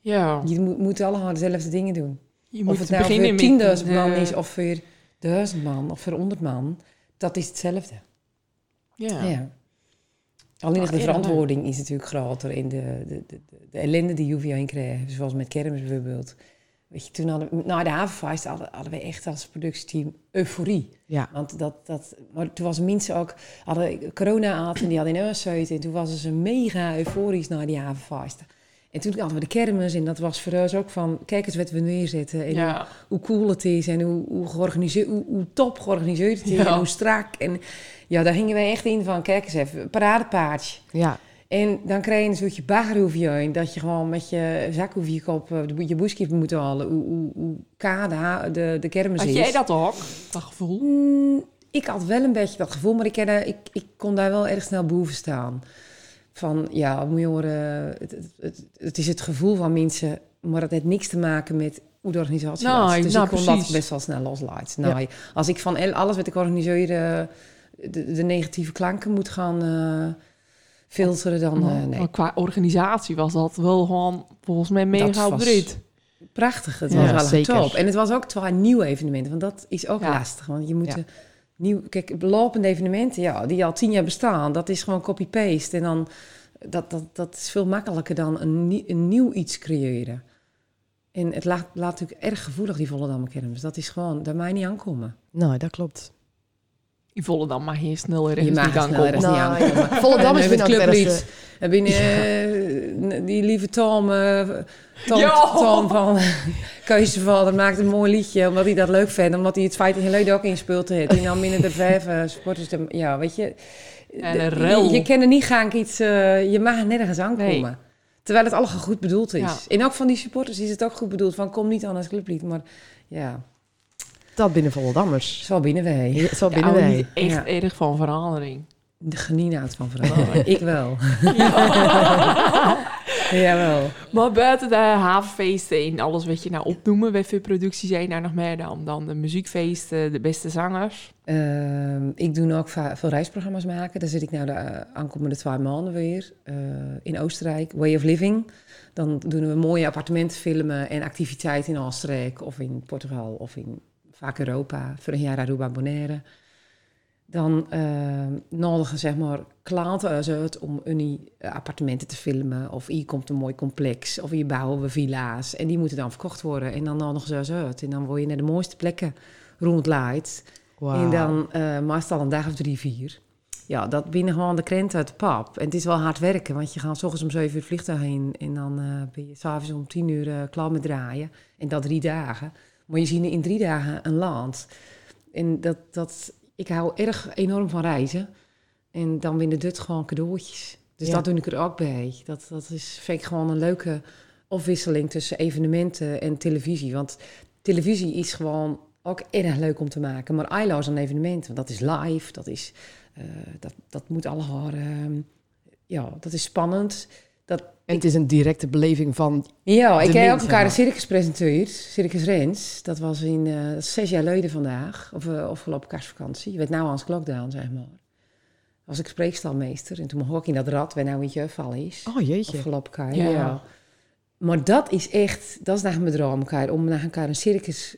Ja. Je moet, moet allemaal dezelfde dingen doen. Je of moet het nou beginnen met... voor 10.000 man eh, is of voor 1000 man of voor 100 man. Dat is hetzelfde. Ja. Ja. Alleen Ah, de ja, verantwoording is natuurlijk groter in de, de, de, de ellende die Juvia in kreeg. Zoals met kermis bijvoorbeeld. Weet je, toen hadden we, na de havenfeest hadden, hadden we echt als productieteam euforie. Ja. Want dat, dat, maar toen was mensen ook, hadden corona aten en die hadden in Eursuit. En toen was ze mega euforisch naar die havenfeest. En toen hadden we de kermis en dat was voor ons ook van, kijk eens wat we neerzetten. En Ja. hoe cool het is en hoe, hoe, georganiseerd, hoe, hoe top georganiseerd het is Ja. en hoe strak. En ja, daar gingen wij echt in van, kijk eens even, een paradepaardje. Ja. En dan krijg je een soortje bagger over je heen, dat je gewoon met je zak over je kop eh, de bo- je boeskip moet halen, hoe, hoe, hoe kaal de, ha- de, de kermis Had is. jij dat ook? Dat gevoel? Mm, ik had wel een beetje dat gevoel, maar ik, ken, eh, ik, ik kon daar wel erg snel boven staan. Van ja, moet je horen, het, het, het, het is het gevoel van mensen, maar dat heeft niks te maken met hoe de organisatie Nee, was. Dus nou, ik kon precies. dat best wel snel loslaten. Nou, Als ik van el- alles wat ik organiseer eh, de, de negatieve klanken moet gaan eh, filteren, dan eh, nee. Maar qua organisatie was dat wel gewoon volgens mij mega was- breed. Prachtig, het Ja, was wel zeker. top. En het was ook twee nieuwe evenementen, want dat is ook Ja. lastig. Want je moet... Ja. eh, Nieuw, kijk, lopende evenementen, ja, die al tien jaar bestaan, dat is gewoon copy-paste. En dan, dat, dat, dat is veel makkelijker dan een, nie- een nieuw iets creëren. En het laat, laat natuurlijk erg gevoelig, die Volendam kermis. Dat is gewoon, daar mij niet aankomen. Nou, dat klopt. Die volle dan mag je sneller Je ergens mag niet er sneller aankomen. niet Nou, aankomen. Volendam is En met binnen ook Club wel eens, Lied. En binnen eh, die lieve Tom, eh, Tom, Ja. Tom van Keuzevader maakt een mooi liedje, omdat hij dat leuk vindt, omdat hij het feit in leuk ook inspeelt heeft. En dan binnen de vijf eh, supporters, de- ja, weet je. En de- een rel. Je, je kan er niet gaan iets, eh, je mag er nergens aankomen. Nee. Terwijl het allemaal goed bedoeld is. Ja. En ook van die supporters is het ook goed bedoeld, van kom niet aan als clublied, maar ja, Dat binnen Vollendammers. zo binnen wij. Ja, oh, Zo Ja, binnen hou wij. niet echt Ja. erg van verandering. Geniet uit van verandering. ik wel. Jawel. Maar buiten de havenfeesten en alles wat je nou opnoemen, wat voor producties zijn daar nog meer dan? Dan de muziekfeesten, de beste zangers. Ehm, ik doe nu ook va- veel reisprogramma's maken. Daar zit ik nou de eh, aankomende twee maanden weer eh, in Oostenrijk. Way of Living. Dan doen we mooie appartementenfilmen en activiteiten in Oostenrijk of in Portugal of in vaak Europa. Voor een jaar Aruba Bonaire. Dan ehm, nodigen zeg maar klanten ons uit om hun eh, appartementen te filmen. Of hier komt een mooi complex. Of hier bouwen we villa's. En die moeten dan verkocht worden. En dan nodigen ze ons uit. En dan word je naar de mooiste plekken rondleid. Wauw. En dan eh meestal een dag of drie, vier. Ja, dat binnen gewoon de krent uit de pap. En het is wel hard werken, want je gaat s ochtends om zeven uur het vliegtuig heen... en dan eh, ben je s'avonds om tien uur eh, klaar met draaien. En dat drie dagen. Maar je ziet in drie dagen een land. En dat, dat, ik hou erg enorm van reizen. En dan winnen dit gewoon cadeautjes. Dus Ja. dat doe ik er ook bij. Dat, dat is, vind ik gewoon een leuke afwisseling tussen evenementen en televisie. Want televisie is gewoon ook erg leuk om te maken. Maar ILO is een evenement, want dat is live. Dat, is, eh, dat, dat moet allemaal... ehm, ja, dat is spannend. Dat, En het is een directe beleving van... ja, ik De heb ook mensen, elkaar een ja. circus presenteerd. Circus Rens. Dat was in, eh, dat is zes jaar geleden vandaag. Of eh, afgelopen kerstvakantie. Je weet nou Hans Klokdown, zeg maar. Was ik spreekstalmeester. En toen mocht ik in dat rad, waar nou in Jeufval is. Oh jeetje. Afgelopen keer, Ja. ja. Maar dat is echt, dat is naar mijn droom, elkaar, om naar elkaar een circus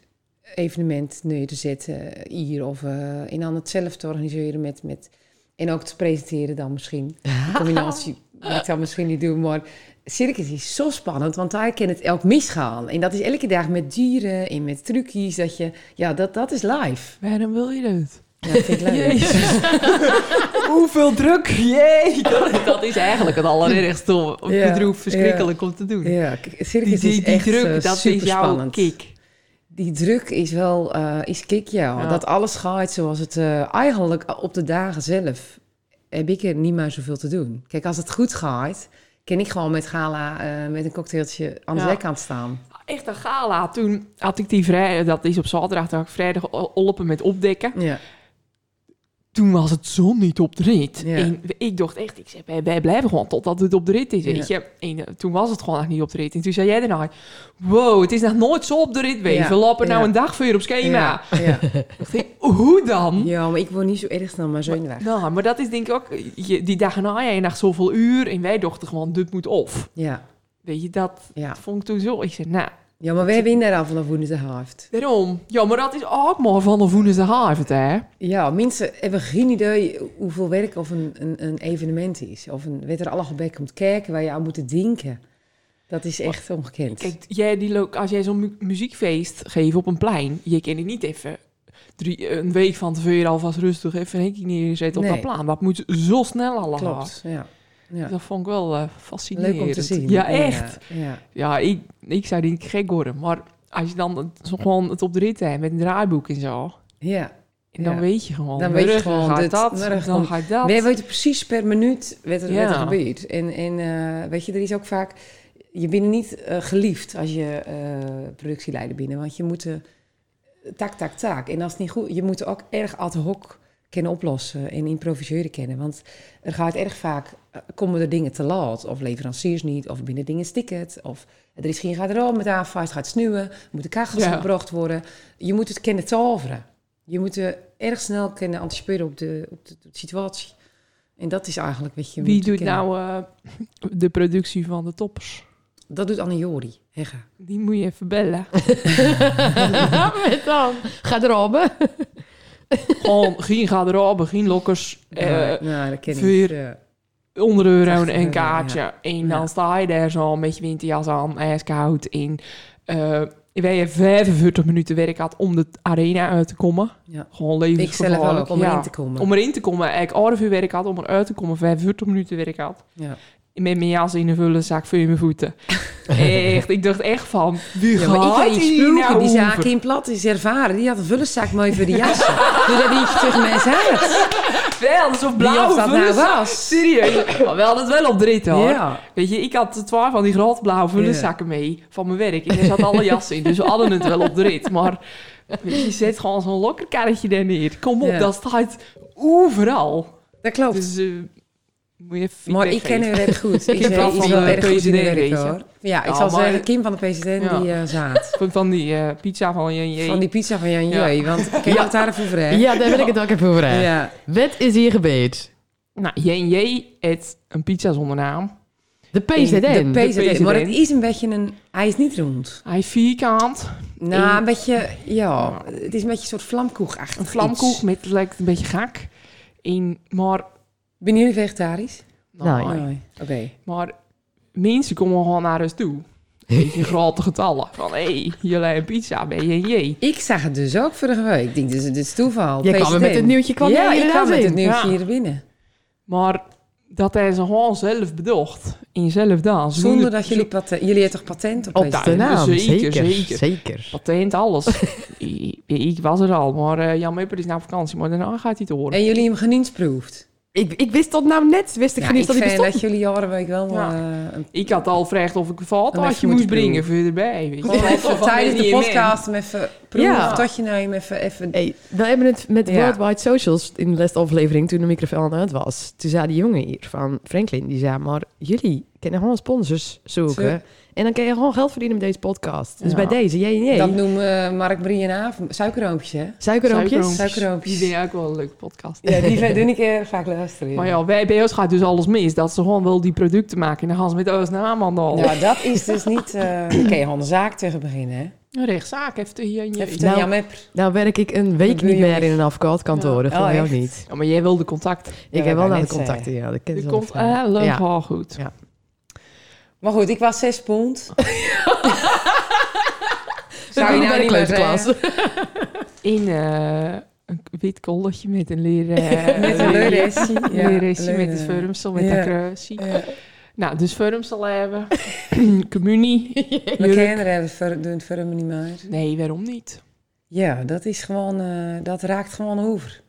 evenement neer te zetten hier of eh, en dan het zelf te organiseren met, met en ook te presenteren dan misschien. De combinatie wat ik dan misschien niet doen, maar circus is zo spannend, want daar kan het elk misgaan. En dat is elke dag met dieren en met trucjes dat je, ja, dat, dat is live. Waarom wil je dat? Ja, dat vind ik leuk. Hoeveel druk! Jee! Dat, dat is eigenlijk het allerergste om Ja, bedroef verschrikkelijk om te doen. Ja, k- Die, circus die, is die echt druk, eh, dat is jouw superspannend. kick. Die druk is wel, eh, is kick ja. Ja. Dat alles gaat zoals het eh, eigenlijk op de dagen zelf heb ik er niet meer zoveel te doen. Kijk, als het goed gaat, kan ik gewoon met gala eh, met een cocktailtje aan de Ja. zijkant staan. Echt een gala. Toen had ik die vrijdag, dat is op zaterdag, dat had ik vrijdag o- olpen met opdekken. Ja. toen was het zon niet op de rit. Ja. En ik dacht echt, ik zei, wij, wij blijven gewoon totdat het op de rit is, weet je. En eh, toen was het gewoon nog niet op de rit. En toen zei jij daarna, wow, het is nog nooit zo op de rit geweest. Ja. We lopen nou Ja. een dag voor je op schema. Ja, ja. Dacht ik, hoe dan? ja, maar ik word niet zo erg snel, maar zo in de weg. Nou, maar dat is denk ik ook, je, die dagen na, jij nacht zoveel uur. En wij dachten gewoon, dit moet of. Ja, Weet je, dat ja. vond ik toen zo. Ik zei, nou, ja, maar wij winnen daar al vanaf woensdagavond. daarom. Ja, maar dat is ook maar van de woensdagavond, hè. Ja, mensen hebben geen idee hoeveel werk of een, een, een evenement is. Of een, weet er allemaal bij komt kijken waar je aan moet denken. Dat is echt ongekend. Kijk, jij die lo- als jij zo'n mu- muziekfeest geeft op een plein, je kan het niet even drie, een week van tevoren alvast rustig even een hekje neerzetten op Nee. dat plan. Dat moet zo snel allemaal. Klopt, ja. ja. Dat vond ik wel eh, fascinerend. Leuk om te zien. Ja, echt. Ja, ja. Ja, ik, ik zou denk ik gek worden. Maar als je dan het- zo gewoon het op de rit hebt met een draaiboek en zo, ja. en dan Ja. weet je gewoon. Dan weet je morgen gewoon gaat dit, dat, morgen dan komt- gaat dat. Wij weten precies per minuut wat er, Ja. wat er gebeurt. En, en eh, weet je, er is ook vaak... Je bent niet eh, geliefd als je eh, productieleider binnen. Want je moet... eh, tak, tak, tak. En als het niet goed... Je moet ook erg ad hoc kunnen oplossen en improviseren kennen. Want er gaat erg vaak... eh, komen er dingen te laat. Of leveranciers niet. Of binnen dingen sticket. Of er is geen garderobe met aanvaart. Het gaat sneeuwen. Moeten kachels Ja. gebracht worden. Je moet het kennen toveren. Je moet eh, erg snel kunnen anticiperen op de, op de, op de situatie. En dat is eigenlijk wat je Wie moet doet kennen. nou eh, de productie van de toppers? Dat doet Anne Jori. Hegge. Die moet je even bellen. nou Met dan. Ga erop. Gewoon geen garderobe, geen lokkers. eh, nou, nou, dat ken vuur. ik. Ja. onder de euro Echt, en een eh, kaartje. En dan Ja. sta je daar zo met je winterjas aan, ijskoud. En eh wij hebben 45 minuten werk gehad om de arena uit te komen. Ja. Gewoon leven Ik zelf ook, om erin te komen. Om erin te komen. Eigenlijk half uur werk had om eruit te komen. 45 minuten werk had. Ja. Met mijn jas in een vullen zak voor je mijn voeten. echt, ik dacht echt van, wie Ja, maar ik gaat had iets hier vroeger, nou die zaak over? in plat is ervaren. Die had een vullenzak mooi voor de jassen. dus dat die tegen mij zei. Wel, dat is of Wie blauwe of dat nou vullenzak. was. Serieus, maar wel dat wel op de rit hoor. Ja. Weet je, ik had twaalf van die grote blauwe vullenzakken mee van mijn werk. En daar zat alle jassen in, dus we hadden het wel op de rit. Maar weet je, je zet gewoon zo'n lokkerkarretje daar neer. Kom op, Ja. dat staat overal. Dat klopt. Dus eh, moet je even maar ik feedback ken geven. hem erg goed. Ik Kim zei, Plat is van wel de erg goed in de president, werk, weet je. hoor. Ja, ik Ja, zal maar- zeggen, Kim van de president Ja. die eh, zaad. Van- Van die eh, pizza van Jan Van die pizza van Jan Jeu. Want ken je het daar even over, hè? Ja, daar wil ik het ook even over hebben. Ja. Wat is hier gebeurd? Nou, JJ eet een pizza zonder naam. De PZN. De PZN. PZN. Maar het is een beetje een... Hij is niet rond. Hij is vierkant, Nou, Eén. een beetje... Ja, het is een beetje een soort vlamkoekachtig. een vlamkoek iets. met lijkt een beetje gak. En, maar, Ben jullie vegetarisch? Nee. nou, Nee. Oké. Maar mensen komen gewoon naar ons toe. In grote getallen. Van, hé, hey, jullie hebben pizza bij J&J. Ik zag het dus ook vorige week. Ik denk, dit is, dit is toeval. Jij kwam PZN. er met het nieuwtje, kwam jij Ja, ik inderdaad kwam met het in. nieuwtje Ja. hier binnen. Maar dat hebben ze gewoon zelf bedacht. En zelf dan. Ze doen Zonder het- dat jullie patent... Jullie hebben toch patent op, Op PZN? De naam, Zeker, zeker. zeker. Zeker. Patent, alles. ik, ik was er al, maar eh, Jan Mepper is naar vakantie. Maar daarna gaat hij het horen. En jullie hem geniedsproefd? Ik, ik wist tot nou net, wist ik Ja, geen ik eens dat hij vind bestond. dat jullie jaren week wel Ja. eh, een Ik had al gevraagd of ik een vaatwasje even moest moeten brengen voor je erbij. Weet je. Gewoon even Van, nee, tijdens de niet in podcast hem even proeven. Ja. Of dat je nou hem even... even Hey, we hebben het met Ja. Worldwide Socials in de laatste aflevering, toen de microfoon uit was. Toen zei die jongen hier van Franklin, die zei maar, jullie kunnen gewoon sponsors zoeken. Zo. En dan kun je gewoon geld verdienen met deze podcast. Dus Ja. bij deze, jij en Dat jij. noemen eh, Mark Brie en Aaf suikerroompjes, hè? Suikerroompjes. Suikerroompjes. Suikerroompjes. Die vind ik ook wel een leuke podcast. Ja, die doen ik eh, vaak luisteren. ja. Maar ja, wij, bij ons gaat dus alles mis. Dat ze gewoon wel die producten maken. En dan gaan ze met ons naam aan de hand. Nou, dat is dus niet... eh Oké, gewoon een zaak tegen beginnen, hè? Een rechtszaak heeft hij hier. Even niet. te Nou, jammer. Nou werk ik een week Dat wil niet je meer niet. in een afkoopkantoor, dat Oh, wil ik ook echt? niet. Ja, maar jij wilde contact. Ik wou heb wel ik naar de net contacten, ja. Dat Die kennen ze komt eh, wel van. heel Ja. al goed. Ja. Maar goed, ik was zes pond. Zou je Ik ben een nou niet meer kleuterklas. zeggen? In eh, een wit kolletje met een leren... Met een eh, leuresje. Ja, Een leuresje met leuren. het vormsel, met Ja. een kruisje. Ja. Nou, dus vormsel hebben. Communie. Mijn Jurk. kinderen hebben ver- doen het voor hem niet meer. Nee, waarom niet? Ja, dat is gewoon... eh, dat raakt gewoon over.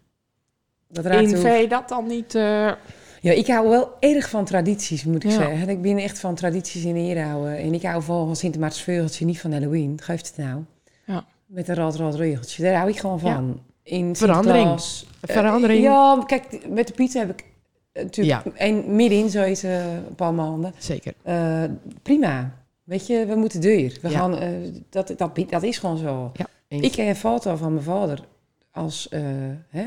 Dat raakt In over. V dat dan niet... eh, Ja, ik hou wel erg van tradities, moet ik Ja. zeggen. Ik ben echt van tradities in ere houden. En ik hou vooral van Sint Maartensveugeltje, niet van Halloween. Geeft het nou. Ja. Met een rad, rad, regeltje. Daar hou ik gewoon van. in Verandering. Sinterklaas. Eh, Verandering. ja, kijk, met de pizza heb ik eh, natuurlijk en middenin zoiets eh, een paar maanden. Zeker. Eh, prima. Weet je, we moeten deur. We Ja. gaan, eh, dat, dat, dat is gewoon zo. Ja, eens. Ik ken een foto van mijn vader als, eh, hè?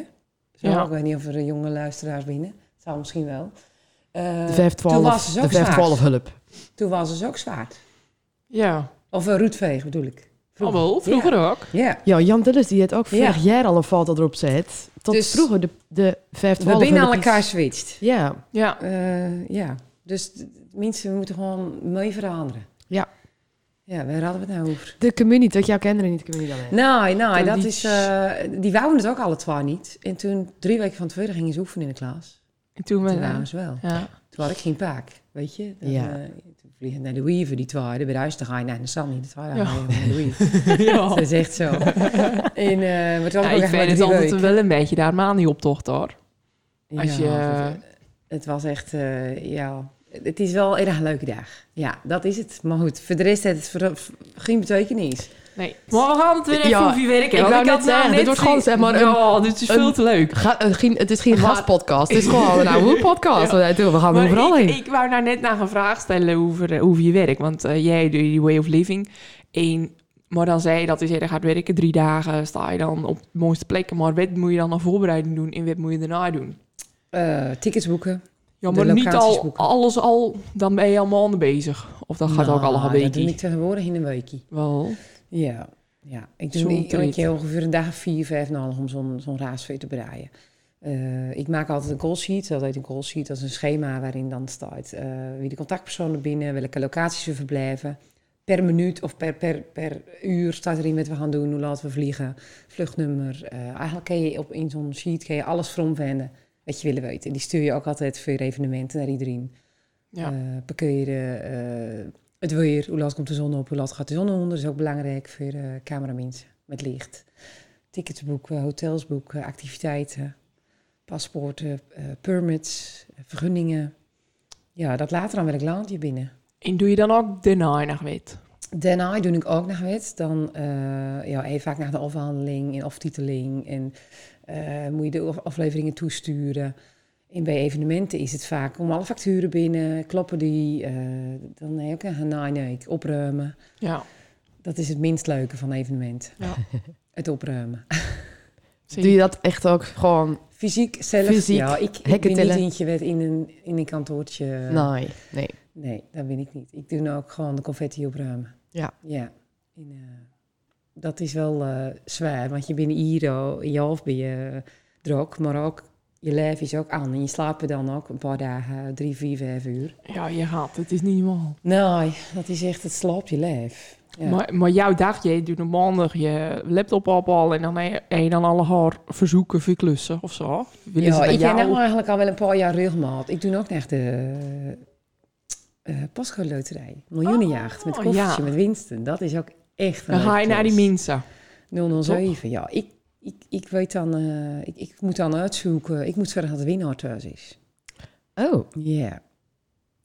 Zo, Ja. ik weet niet of er jonge luisteraars binnen. Zou misschien wel. Eh, de toen 512, was ze de ook zwaard. 512 hulp. Toen was ze ook zwaard. Ja. Of een roetveeg bedoel ik. Vroeger. Allemaal, vroeger ook. Ja. Ja, Jan Dillis die het ook Ja. vorig jaar al een fout erop zet. Tot Dus vroeger de, de 512 We binnen aan hulp is- elkaar switcht. Ja, Ja. Eh, ja. Dus d- mensen moeten gewoon mee veranderen. Ja. Ja, waar hadden we het nou over? de community, dat jouw kinderen niet de community alleen. Nee, nee, Toen dat die- is, eh, die wouden het ook alle twee niet. En toen, drie weken van tevoren, gingen ze oefenen in de klas. En toen Toen waren ben ze wel. ja. Toen had ik geen paak, weet je. Dan, Ja. eh, toen vliegen naar de Weaver, die tweede. Bij huis, Nou, dan ga je naar de Sandy, de tweede. Ja. Dan ga je naar de Weaver. ja. Dat is echt zo. en, eh maar toen Ja, had ik ik ook echt maar vind het drie altijd weken. wel een beetje daar maan die optocht hoor. Als Ja, je, eh, Het was echt, eh, ja... Het is wel een erg leuke dag. Ja, dat is het. Maar goed, voor de rest heeft het voor- voor- geen betekenis. nee. Maar we gaan het weer even Ja, over je werken. ik wou want had net nou zeggen, dit wordt gewoon, zeg maar, Ja, dit is een- veel te leuk. Ga, eh, geen- het is geen Ga- gastpodcast, het is gewoon een oude podcast. Eh, Ja. We we gaan Maar overal ik, heen. ik wou daar net naar een vraag stellen over, eh, over je werk. Want eh, jij doet die way of living. Eén, maar dan zei je dat als je er gaat werken drie dagen, sta je dan op de mooiste plekken. Maar wat moet je dan aan voorbereiding doen en wat moet je daarna doen? Eh, tickets boeken. Ja, De maar niet locaties al, boeken. alles al, dan ben je allemaal aan de bezig. Of dat gaat ook Nou, allemaal Dat doe ik beetje. tegenwoordig in een weekje. Wel, Ja, ja. ik Zo'n doe ik- treat. ik keer ongeveer een dag of vier, vijf nodig om zo'n zo'n raasveer te breien. Eh, ik maak altijd een call sheet. Dat heet een call sheet. Dat is een schema waarin dan staat eh, wie de contactpersonen binnen, welke locaties ze verblijven. Per minuut of per, per, per uur staat erin wat we gaan doen, hoe laat we vliegen, vluchtnummer. Eh, eigenlijk kun je op, in zo'n sheet kun je alles vromvenden wat je willen weten. Die stuur je ook altijd voor evenementen naar iedereen. ja. Eh, parkeren, eh, het weer, hoe laat komt de zon op, hoe laat gaat de zon onder. is ook belangrijk voor eh cameramensen met licht. Tickets boeken, hotels boeken, activiteiten, paspoorten, eh, permits, eh, vergunningen. Ja, dat later dan wel ik landje binnen. En doe je dan ook daarna nog weet? Daarna doe ik ook nog wat. Dan eh ja, even vaak naar de afhandeling en aftiteling. En eh, moet je de af- afleveringen toesturen. En bij evenementen is het vaak, om alle facturen binnen, kloppen die. eh, dan heb je ook een naaineuk, opruimen. Ja, Dat is het minst leuke van evenementen. Ja. het opruimen. Doe je dat echt ook gewoon? Fysiek zelf, Fysiek, ja, ik, ik hekken ben niet tillen. Nou. eentje wet in een, in een kantoortje. Nee, nee. Nee, dat ben ik niet. Ik doe nou ook gewoon de confetti opruimen. Ja. Ja. En, eh, dat is wel eh, zwaar, want je bent hier, al- in je hoofd ben je eh, droog, maar ook je lijf is ook aan. En je slaapt er dan ook een paar dagen, drie, vier, vijf uur. ja je gaat. Het is niet normaal. Nee, dat is echt, het slaapt je lijf. Ja. Maar, maar jouw dag, je doet op maandag je laptop ophalen en dan heb je- heb je dan alle haar verzoeken voor klussen of zo. Willen ze ja, bij ik ken jou- hem eigenlijk al wel een paar jaar regelmaat. Ik doe ook echt de eh Pasco Loterij. Miljoenenjacht met Oh, koffertje, ja. met winsten. Dat is ook echt een Dan ga je leuke naar die klus. mensen. 007, ja. Ik, ik, ik weet dan, eh, ik, ik moet dan uitzoeken. Ik moet zorgen dat de winnaar thuis is. Oh, Ja.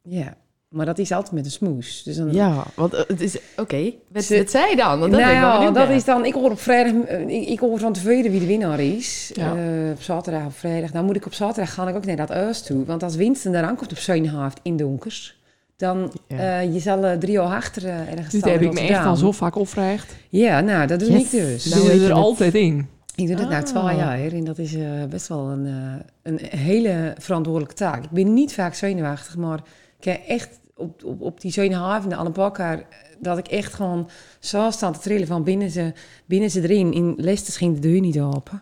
Ja. Maar dat is altijd met een smoes. Dus dan, ja. Want eh, het is... Oké, wat, Ze- wat zei je dan? Want dat nou ben ik wel ja, benieuwd dat naar. is dan. Ik hoor op vrijdag. eh, Ik, ik hoor van tevreden wie de winnaar is. Ja. Eh, op zaterdag of vrijdag. Dan moet ik op zaterdag gaan ik ook naar dat huis toe. Want als Winston daar aankomt op Zuinhaft in donkers. Dan Ja. eh, je zal eh, drie jaar achter eh, ergens Dit staan in Dus heb ik me echt Rotterdam. al zo vaak opgevraagd. Ja, nou, dat doe Yes. ik dus. Ze Nou zitten weet er je het. altijd in. Ik doe dat na Ah. twaalf jaar en dat is eh, best wel een, eh, een hele verantwoordelijke taak. Ik ben niet vaak zenuwachtig, maar ik heb echt op, op, op die zenuwhavende aan de bakker... dat ik echt gewoon zo sta te trillen van binnen ze, binnen ze erin. In Leicester ging de deur niet open.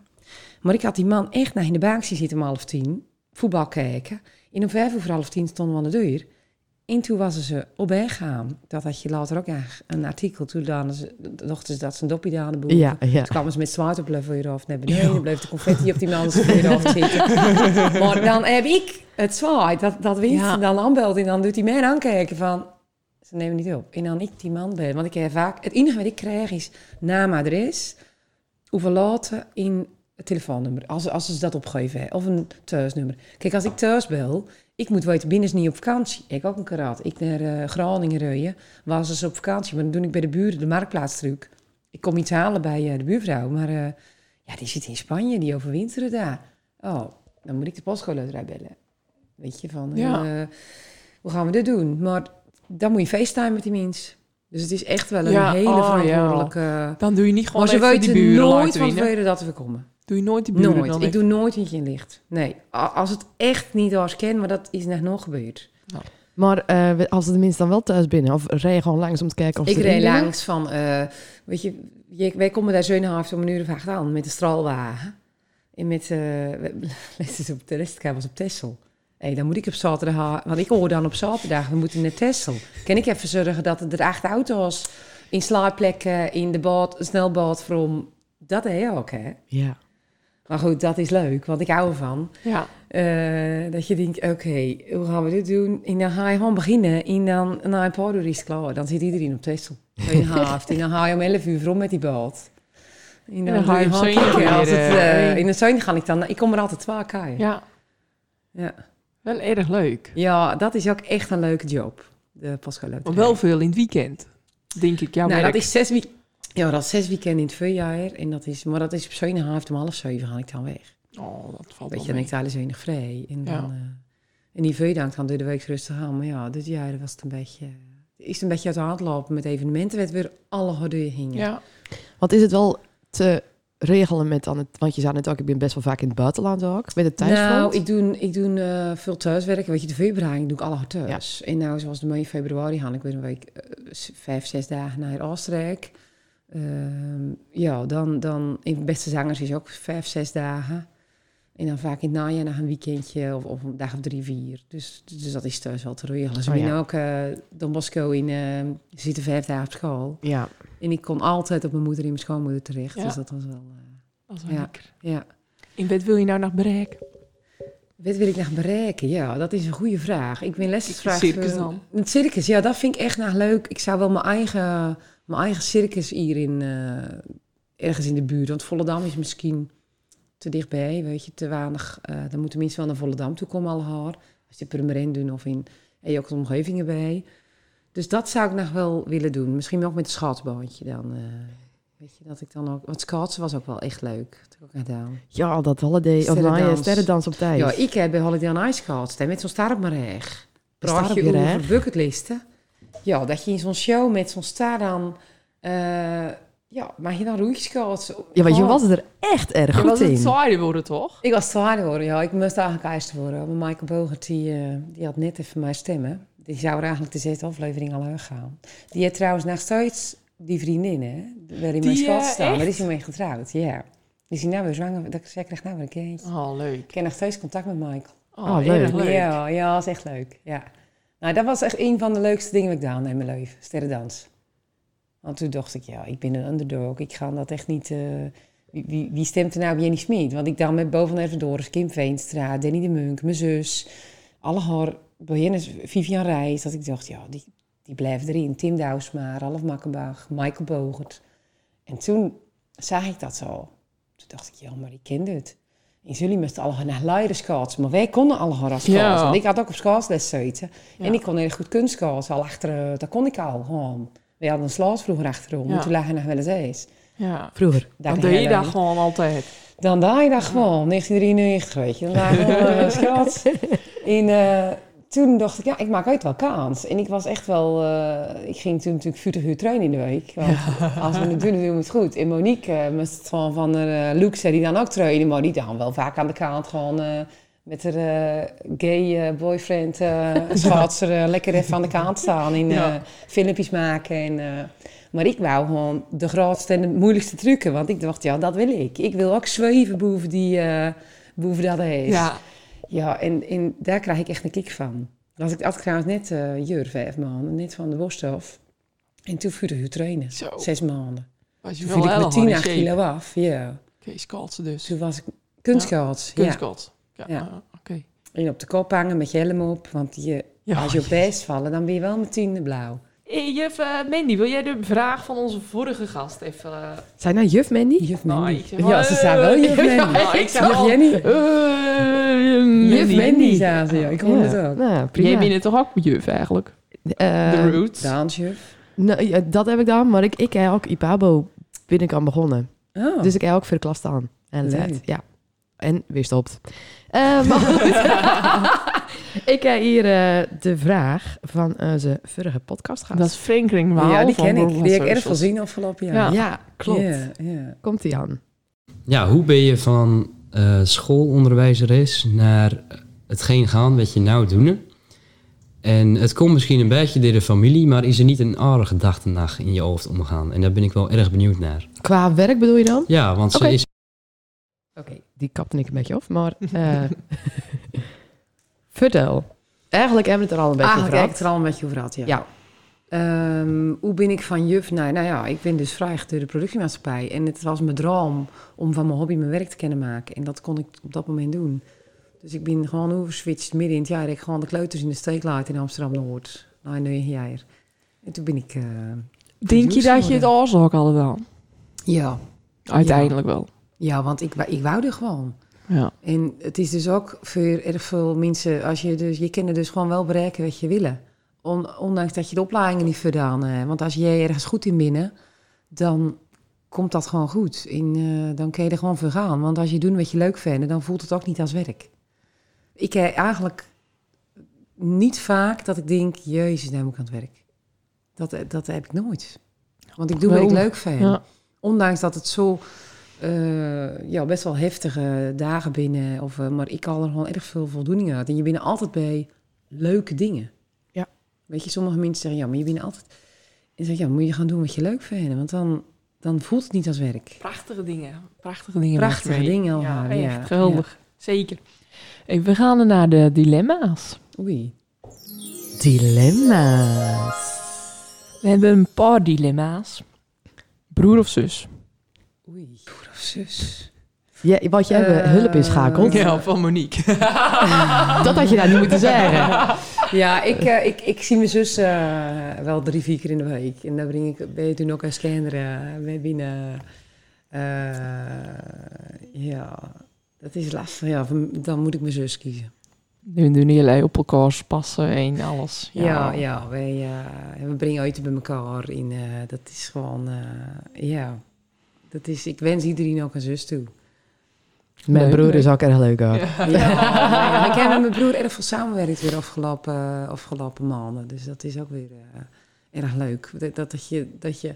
Maar ik had die man echt naar in de bank zien zitten om half tien. Voetbal kijken. En om vijf over half tien stonden we aan de deur. En toen was ze op weg gaan. Dat had je later ook een artikel. Toen dachten ze- dachten ze dat ze een dopje aan de boer. Ja, ja. Toen kwamen ze dus met zwaard op voor je hoofd naar beneden. Dan bleef de confetti op die man zijn voor je hoofd zitten. maar dan heb ik het zwaard. Dat, dat wint Ja. dan aanbelt. En dan doet hij mij aankijken van... Ze nemen niet op. En dan ik die man ben. Want ik heb vaak... Het enige wat ik krijg is naam, adres... Hoeveel laten in het telefoonnummer. Als, als ze dat opgeven. hè. Of een thuisnummer. Kijk, als ik thuis bel... Ik moet weten, binnen is niet op vakantie. Ik ook een karat. Ik naar eh, Groningen rijden. Was dus op vakantie. Maar dan doe ik bij de buren de marktplaatstruc. Ik kom iets halen bij eh, de buurvrouw. Maar eh, Ja, die zit in Spanje, die overwinteren daar. Oh, dan moet ik de postcoloterij bellen. Weet je, van Ja. eh, hoe gaan we dit doen? Maar dan moet je facetimen met die mens. Dus het is echt wel een Ja, hele oh, ja. verantwoordelijke... Dan doe je niet gewoon Maar ze even die weten buren nooit laten van winnen. tevreden dat we komen. Doe je nooit die buren Nooit. dan Ik even- doe nooit eentje in licht. Nee, a- als het echt niet als ken, maar dat is net nog gebeurd. Maar eh, we- als ze tenminste dan wel thuis binnen, of rij je gewoon langs om te kijken of Ik ze reed binnen- langs van, eh, weet je, je- wij komen daar zeunenhalf om een uur of acht aan met de straalwagen. En met, eh, we- laatst op de rest was op Tessel. Hé, dan moet ik op zaterdag, ha- want ik hoor dan op zaterdag, we moeten naar Tessel. Kan ik even zorgen dat er acht auto's in slaapplekken, in de boot, snelboot, from. Dat heb je ook, hè? Ja. Maar goed, dat is leuk, want ik hou ervan. Ja. Eh, dat je denkt, oké, hoe gaan we dit doen? En dan ga je gewoon beginnen. En dan, na een paar uur is het klaar. Dan zit iedereen op Tessel. In haft. En dan ga je om 11 uur rond met die boot. En dan ga je doe op zee gewoon weer, als het, eh, eh, In de zon ga ik dan... Ik kom er altijd twee keer. Ja. ja, Ja. wel erg leuk. dat is ook echt een leuke job. De postcoloterij. Maar wel veel in het weekend, denk ik. Ja, nou, werk. dat is zes week... Ja, dat is zes weekenden in het voorjaar. En dat is, maar dat is op zo'n half om half zeven ga ik dan weg. Oh, dat valt Weet je, wel dan mee. ik daar is weinig vrij. En, Ja. dan, eh, en die veedank dan door de week rustig aan. Maar ja, dit jaar was het een beetje... Is het een beetje uit de hand lopen met evenementen. Werd weer alle hordeuren hingen. Ja. Want is het wel te regelen met aan het... Want je zei net ook, ik ben best wel vaak in het buitenland ook. Met het thuisfront. Nou, ik doe, ik doe eh, veel thuiswerk. Weet je, de februari doe ik alle hard thuis. En nou, zoals de mei februari had ik weer een week, eh, s- vijf, zes dagen naar Oostenrijk. Ehm, ja, dan, dan, in Beste Zangers is ook vijf, zes dagen. En dan vaak in het najaar nog een weekendje of, of een dag of drie, vier. Dus, dus dat is thuis wel te regelen. Ze Oh, ja. zijn ook eh, Don Bosco in, ehm, ze zitten vijf dagen op school. Ja. En ik kon altijd op mijn moeder en mijn schoonmoeder terecht. Ja. Dus dat was wel, eh, Dat is wel Ja. lekker. ja. In wat wil je nou nog bereiken? Wat wil ik nog bereiken? Ja, dat is een goede vraag. Ik ben lesvraag. Circus dan? Het circus, ja, dat vind ik echt nog leuk. Ik zou wel mijn eigen, mijn eigen circus hier in, eh, ergens in de buurt. Want Volendam is misschien te dichtbij, weet je, te weinig. eh, dan moeten mensen wel naar Volendam toe komen al haar. Als je Purmerend doen of in, heb je ook de omgevingen bij. Dus dat zou ik nog wel willen doen. Misschien ook met een schaatsbandje dan. eh, weet je, dat ik dan ook... Want schaatsen was ook wel echt leuk. Dat heb ik ook gedaan. Ja, dat holiday. Of Sterrendans. nou ja, sterrendans op tijd. Ja, ik heb bij Holiday on Ice gehad, hè, met zo'n staart maar recht. Praat staart je op je over reg. bucketlisten? Ja, dat je in zo'n show met zo'n staart dan... eh, ja, mag je dan roeitjes schaatsen? Ja, want je Oh. was er echt erg Je goed was in. het zaaien worden, toch? Ik was zwaarder worden, ja. Ik moest eigenlijk eerste worden. Maar Michael Bogert, die, eh, die had net even mijn stemmen. Die zou er eigenlijk de zesde aflevering al aan gaan. Die heeft trouwens nog steeds die vriendin, hè. Waarin mijn Die, schat eh, staan. Daar echt? is hij mee getrouwd, ja. Die is hij nou weer zwanger. Dat, zij krijgt nou weer een kindje. Oh, leuk. Ik heb nog steeds contact met Michael. Oh, Oh, leuk. erg leuk. Ah, Ja, ja, dat is echt leuk. Ja. Nou, dat was echt een van de leukste dingen die ik gedaan heb in mijn leven. Sterrendans. Want toen dacht ik, ja, ik ben een underdog. Ik ga dat echt niet... eh, wie, wie, wie stemt er nou op Jenny Smit? Want ik dan met Bo van Ervedoris, Kim Veenstra, Danny de Munk, mijn zus... Alle haar beginners, Vivian Reis. Dat ik dacht, ja, die, die blijven erin. Tim Douwsma, Ralf Makkenbach, Michael Bogert. En toen zag ik dat zo. Toen dacht ik, ja, maar ik ken dit. En jullie moesten allemaal naar luieren schaatsen. Maar wij konden allemaal naar schaatsen. Ja. Want ik had ook op schaatsles zitten. Ja. En ik kon heel goed kunstschaatsen. Al achter, eh, dat kon ik al gewoon. We hadden een slaas vroeger achterom. Ja. En toen lagen we nog wel eens eens. Ja. Vroeger. Daar Dan de deed je hele- dat gewoon altijd. dan daar je daar gewoon, 1993, weet je. Dan daar gewoon schat. En eh, toen dacht ik, ja, ik maak uit wel kans. En ik was echt wel... eh, ik ging toen natuurlijk 40 uur trainen in de week. Want als we het doen, dan doen we het goed. En Monique, eh moest van, van haar, eh, Luke, zei die dan ook trainen. Maar die dan wel vaak aan de kant gewoon... eh, met haar eh, gay eh, boyfriend, eh schaatser, eh, lekker even aan de kant staan. En eh, Ja. filmpjes maken. En, eh, maar ik wou gewoon de grootste en de moeilijkste trucken. Want ik dacht, ja, dat wil ik. Ik wil ook zweven boven, die, eh boven dat heet. Ja. Ja, en, en daar krijg ik echt een kick van. Dat ik had trouwens net eh jur vijf maanden, net van de borsthof. En toen vuurde u trainen, Zo. zes maanden. Was je Toen wel viel ik heel met tien hard acht kilo af, ja. Oké, skaltsen dus. Toen was ik kunstkoud, ja. Kunstskalt. Ja. Ja. ah, Oké. En op de kop hangen met je helm op, want je, Ja. als je op best vallen, dan ben je wel meteen blauw. Hey, juf eh, Mandy, wil jij de vraag van onze vorige gast even... eh, Zijn nou juf Mandy? Juf nou, Mandy. ik zeg ja, ze eh, zijn wel juf Mandy. Ja, ik zou Juf al... Jenny. Eh, Juf Mandy, Mandy. zei ze, ja. Ik hoor Ja. het ook. Nou, prima. Jij bent toch ook juf eigenlijk? Eh, De roots. Dansjuf. nou, ja, dat heb ik dan, maar ik, ik heb ook IPABO ben ik aan begonnen. Oh. Dus ik heb ook voor de klas staan. En het Leuk. uit, ja. En weer stopt. Eh, maar goed. ik heb hier eh, de vraag van onze vorige podcastgast. Dat is Franklin Waal. ja, die van ken ik. World Die heb ik erg Socials. veel zien afgelopen jaar. Ja. Ah, Ja, klopt. Ja, ja. Komt die aan? Ja, hoe ben je van eh, schoolonderwijzeres naar hetgeen gaan wat je nou doet? En het komt misschien een beetje door de familie, maar is er niet een andere gedachtendag in je hoofd omgaan? En daar ben ik wel erg benieuwd naar. Qua werk bedoel je dan? Ja, want Oké. ze is Oké, die kapte ik een beetje af, maar eh, vertel. Ah, Eigenlijk hebben we het er al een beetje Eigenlijk over heb gehad. ik het er Ah, al een beetje over gehad, ja. Ja. Ehm, hoe ben ik van juf naar... Nou ja, ik ben dus vrijgegeven door de productiemaatschappij. En het was mijn droom om van mijn hobby mijn werk te kunnen maken. En dat kon ik op dat moment doen. Dus ik ben gewoon overswitcht midden in het jaar. dat Ik gewoon de kleuters in de steek laat in Amsterdam-Noord. Nou, negen jaar. En toen ben ik... eh, Denk je dat je het alles ook al wel? ja. Uiteindelijk wel. ja, want ik, wou- ik wou er gewoon. Ja. En het is dus ook voor erg veel mensen, als je dus je kinderen dus gewoon wel bereiken wat je willen. On- ondanks dat je de opleidingen niet verdaan. eh, want als jij ergens goed in binnen, dan komt dat gewoon goed. En, eh, dan kun je er gewoon voor gaan. Want als je doet wat je leuk vindt, dan voelt het ook niet als werk. Ik heb eigenlijk niet vaak dat ik denk, jezus, daar moet ik aan het werk. Dat, eh, dat heb ik nooit. Want ik doe wat ik Wel, leuk vind. ja. Ondanks dat het zo eh, ja, best wel heftige dagen binnen. Of, eh, maar ik haal er gewoon erg veel voldoening uit. En je bent altijd bij leuke dingen. Ja. Weet je, sommige mensen zeggen, ja, maar je bent altijd... En zeg, ja, moet je gaan doen wat je leuk vindt. Want dan, dan voelt het niet als werk. Prachtige dingen. Prachtige dingen. maak je Prachtige mee. dingen al Ja, halen, ja. echt geweldig. Zeker. Hey, we gaan naar de dilemma's. Ja. Oei. Dilemma's. We hebben een paar dilemma's. Broer of zus? Oei. Broer of zus. Ja, wat jij eh, hulp inschakelt, Ja, van Monique. dat had je nou daar niet moeten zeggen. Ja, ik, eh, ik, ik zie mijn zus eh, wel drie, vier keer in de week. En daar breng ik, ben je toen ook als kinderen mee binnen. Eh, ja, dat is lastig. Ja, van- dan moet ik mijn zus kiezen. We doen heel op elkaar passen en alles. Ja, ja, wij, eh, we brengen uit bij elkaar. In, eh, dat is gewoon, eh, ja. Dat is, ik wens iedereen ook een zus toe. Mijn Leuk, broer leuk. is ook erg leuk. Ook. Ja, ik heb met mijn broer erg veel samenwerkt weer afgelopen, afgelopen maanden. Dus dat is ook weer eh, erg leuk. Dat, dat, dat je, dat je,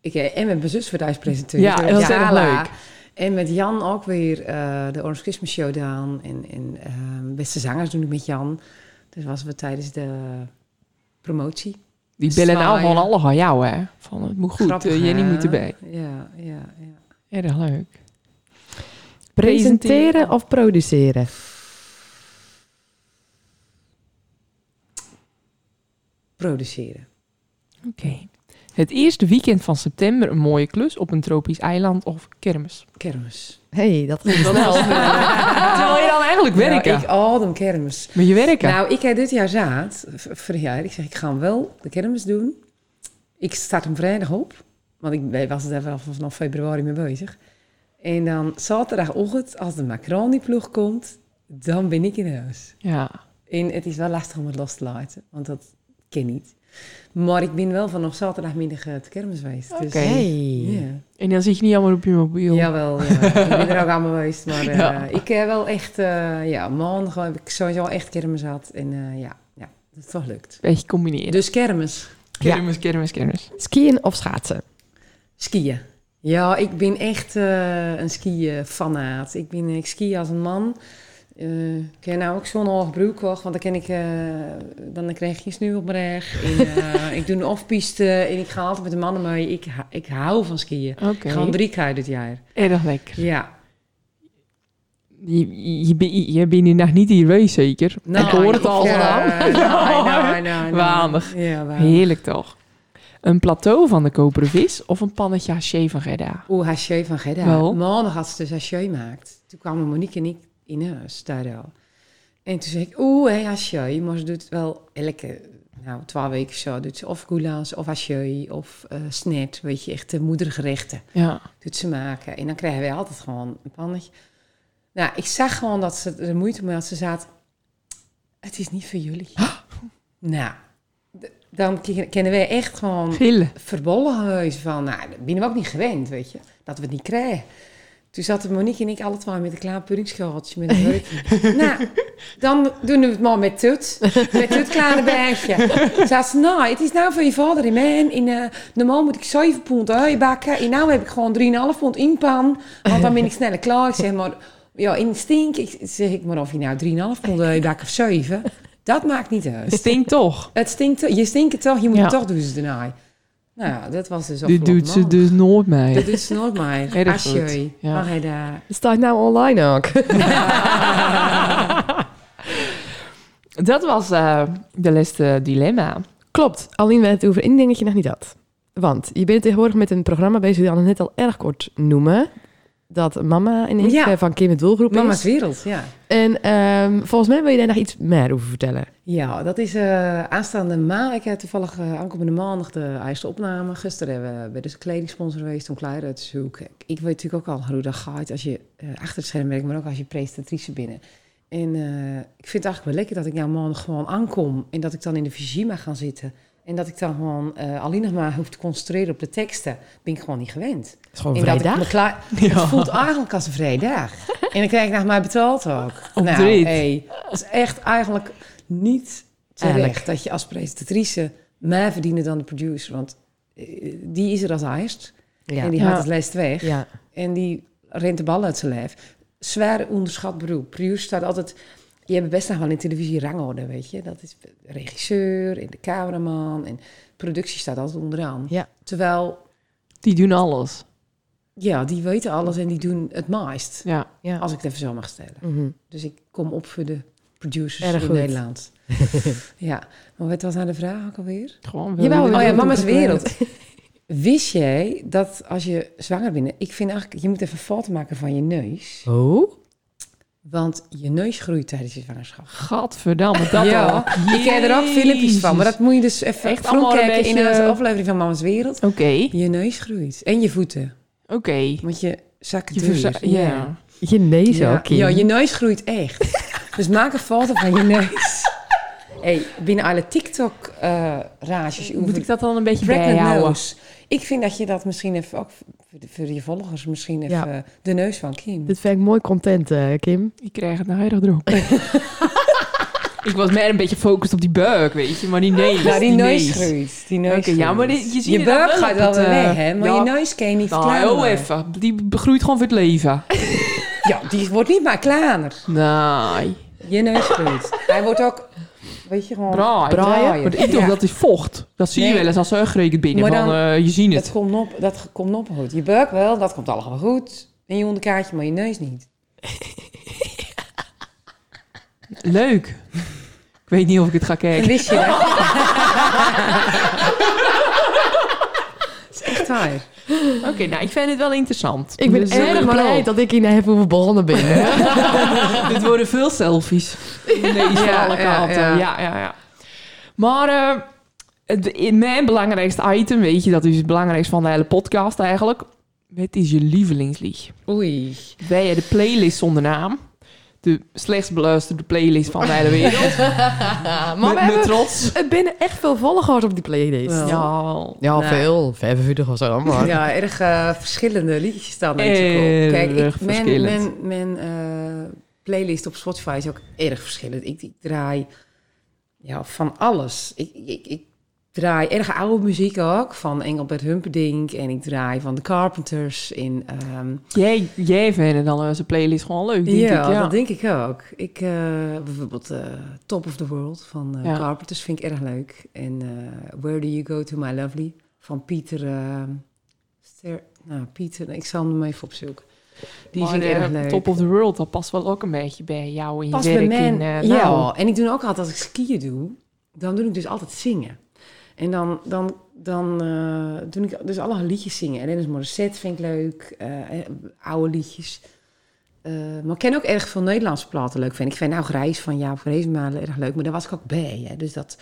ik, eh, en met mijn zus verhuis presenteren. Ja, dat is erg leuk. En met Jan ook weer eh, de Orange Christmas Showdown. En, en eh, Beste Zangers doen ik met Jan. Dus was we tijdens de promotie. Die bellen nou Zwaaien. gewoon alle van jou, hè? Van het moet goed, Grappig, eh, Jenny hè? moet erbij. Ja, ja, ja. Erg leuk. Presenteren of produceren? Produceren. Oké. Het eerste weekend van september een mooie klus op een tropisch eiland of kermis. Kermis. hey, dat ging Dat snel. is- Terwijl je dan eigenlijk werken. Ah. Ja, ik adem kermis. Met je werken. Nou, ik heb dit jaar zaad, v- vorig jaar, ik zeg ik ga hem wel de kermis doen. Ik start hem vrijdag op, want ik ben- was er wel vanaf februari mee bezig. En dan zaterdagochtend, als de Macron-ploeg komt, dan ben ik in huis. ja. En het is wel lastig om het los te laten, want dat ken niet. Maar ik ben wel vanaf zaterdagmiddag eh, te kermis geweest. Dus, Oké. Hey. ja. En dan zit je niet allemaal op je mobiel. Jawel, ja. ik ben er ook aan geweest. Maar eh, Ja. ik heb wel echt, eh, ja, maandag heb ik sowieso echt kermis gehad. En eh, ja, ja, dat is toch lukt. Beetje combineren. Dus kermis. Kermis, kermis, kermis. Skiën of schaatsen? Skiën. Ja, ik ben echt eh, een skiën-fanaat. Ik, ben, ik ski als een man. Eh, ik heb nou ook zo'n hoog broek, hoor, want dan, ken ik, eh, dan krijg je sneeuw op mijn rug. En, eh, ik doe een offpiste en ik ga altijd met de mannen mee. Ik, hou- ik hou van skiën. Oké. Ik ga al drie keer dit jaar. Erg lekker. Ja. Je, je, je, bent- je bent hier nog niet hier geweest, zeker? Nou, ik hoor het al gedaan. gedaan. nou, nou, nou. Waandig. Ja, waandig. Heerlijk toch? Een plateau van de koperen vis of een pannetje haché van Gerda? Oeh, haché van Gedda. Wel? Maandag had ze dus haché gemaakt. Toen kwamen Monique en ik in huis daar al. En toen zei ik, oeh, hey, haché. Maar ze doet het wel elke, nou, twaalf weken zo. Doet ze of goulash, of haché, of eh snet. Weet je, echt de moedergerechten Ja. doet ze maken. En dan krijgen wij altijd gewoon een pannetje. Nou, ik zag gewoon dat ze er moeite mee had. Ze zat, het is niet voor jullie. Nou, d- dan k- kennen wij echt gewoon Gillen. verbollen huis van, nou, dat ben ik ook niet gewend, weet je, dat we het niet krijgen. Toen zaten Monique en ik alle twee met een klaar puddingschoteltje met een hurkje. nou, dan doen we het maar met tut. Met tut kleine bergje. Zei ze, nou, het is nou van je vader in mijn. In, eh, normaal moet ik 7 pond ui bakken. En nou heb ik gewoon 3,5 pond in pan. Want dan ben ik sneller klaar. Ik zeg maar, ja, in stink. Ik, zeg ik maar of je nou 3,5 pond ui bakt of 7. Dat maakt niet uit. Het stinkt toch? Het stinkt, toch- je stinkt het toch, je moet Ja. het toch doen ze daarna. Nou ja, dat was dus Dit afgelopen doet ze maand. dus nooit Dat mee. doet ze nooit meer. Erg Als je, goed, ja. mag hij eh, daar... Het staat nou online ook. Dat was eh, de laatste dilemma. Klopt, alleen we het over één dingetje nog niet had. Want je bent tegenwoordig met een programma bezig dat we net al erg kort noemen. Dat mama in ik Ja. eh, van Kim het Doelgroep Mama's is. wereld, ja. En ehm, volgens mij wil je daar nog iets meer over vertellen. Ja, dat is eh, aanstaande maandag. Ik heb toevallig eh, aankomende maandag de eerste opname. Gisteren hebben we bij de kledingsponsor geweest om klei uit te zoeken. Ik weet natuurlijk ook al hoe dat gaat als je eh, achter het scherm werkt, maar ook als je presentatrice binnen. En eh, ik vind het eigenlijk wel lekker dat ik nou maandag gewoon aankom en dat ik dan in de visie mag gaan zitten. En dat ik dan gewoon eh, alleen nog maar hoef te concentreren op de teksten. Ben ik gewoon niet gewend. Het is gewoon En dat ik me vrijdag. klaar... Het voelt eigenlijk als een vrijdag. En dan krijg ik naar mij betaald ook. Op nou, drie. hey, dat is echt eigenlijk niet terecht Eerlijk. dat je als presentatrice meer verdienen dan de producer. Want eh, die is er als eerst. Ja. En die Ja. haalt het lijst weg. Ja. En die rent de bal uit zijn lijf. Zwaar onderschat beroep. Producer staat altijd... Je hebt best nog wel in televisie rangorde, weet je. Dat is regisseur en de cameraman. En productie staat altijd onderaan. Ja. Terwijl, Die doen alles. ja, die weten alles en die doen het meest. Ja. Ja. Als ik het even zo mag stellen. Mhm. Dus ik kom op voor de producers Erg in goed. Nederland. ja, maar wat was aan de vraag ook alweer? Gewoon Jawel, willen- we Oh ja, hebben mama's het over wereld. Wist jij dat als je zwanger bent... Ik vind eigenlijk, je moet even een foto maken van je neus. Oh, Want je neus groeit tijdens je zwangerschap. Gadverdamme, dat al. ja, ik ken er ook filmpjes van. Maar dat moet je dus even Echt Echt allemaal een kijken in beetje- eh, de aflevering van Mama's Wereld. Oké, Je neus groeit. En je voeten. oké. Want je zakken Je verza- deur. ja. je neus ja. ook, Kim. Ja, je neus groeit echt. dus maak een foto van je neus. hey, binnen alle eh, TikTok-rages Moet ik dat dan een beetje pregnant bijhouden? nose. Ik vind dat je dat misschien even, ook voor de- voor je volgers, misschien even Ja. eh, de neus van Kim. Dit vind ik mooi content, eh, Kim. Ik krijg het nou heel erg erop. ik was meer een beetje gefocust op die buik, weet je. Maar die neus. nou, die, neus neus. groeit. Die neus Oké, ja, groeit. maar dit- je ziet je het dan buik wel gaat op wel het, weer eh, weg, hè? Maar ja. je neus kan je niet Nou, verklaren. heel even. Die groeit gewoon voor het leven. Ja, die wordt niet maar kleiner. Nee. Je neus groeit. Hij wordt ook, weet je gewoon... Braai. Braai. Want ik dacht Ja. dat is vocht. Dat zie je Nee. wel eens als ze uitgerekend binnen. Maar Van, dan- eh, je ziet Dat het. komt op, dat komt op goed. Je buik wel, dat komt allemaal goed. En je onderkaartje, maar je neus niet. Leuk. Ik weet niet of ik het ga En kijken. wist je dat? dat is echt waar. Oké, nou, ik vind het wel interessant. Ik ben Dus, eh, erg blij vooral. dat ik hier naar heb hoeven begonnen ben. Dit worden veel selfies. Nee, van alle ja, kanten. Ja, ja. ja, ja. Maar eh, het, in mijn belangrijkste item, weet je, dat is het belangrijkste van de hele podcast eigenlijk. Wat is je lievelingslied? Oei. Wij hebben de playlist zonder naam. De slechtst beluisterde playlist van de hele wereld. maar we met, met hebben, trots. het binnen echt veel volgers op die playlist. Wel. Ja, Ja, Nou. veel. 45 of zo, maar... Ja, erg eh, verschillende liedjes staan Erg natuurlijk op. Kijk, ik, mijn, mijn, verschillend. mijn eh, playlist op Spotify is ook erg verschillend. Ik, ik draai ja, van alles. Ik, ik, ik draai erg oude muziek ook, van Engelbert Humperdinck. En ik draai van The Carpenters in... ehm, Jij, jij vindt dan onze playlist gewoon leuk, denk ja, ik. Ja, dat denk ik ook. Ik, eh, bijvoorbeeld eh, Top of the World van eh Ja. Carpenters vind ik erg leuk. En eh, Where Do You Go To My Lovely van Pieter... eh, Ster- nou, Pieter, ik zal hem even opzoeken. Die Maar, vind ik erg eh, leuk. Top of the World, dat past wel ook een beetje bij jou in Pas je bij werk. mij. in, eh, ja, nou, en ik doe ook altijd als ik skiën doe, dan doe ik dus altijd zingen. En dan, dan, dan eh, doe ik dus alle liedjes zingen. En Dennis Morissette vind ik leuk, eh, eh, oude liedjes. Eh, maar ik ken ook erg veel Nederlandse platen leuk vind. Ik vind nou Grijs van Jaap Reesmalen erg leuk, maar daar was ik ook bij. Hè. Dus dat,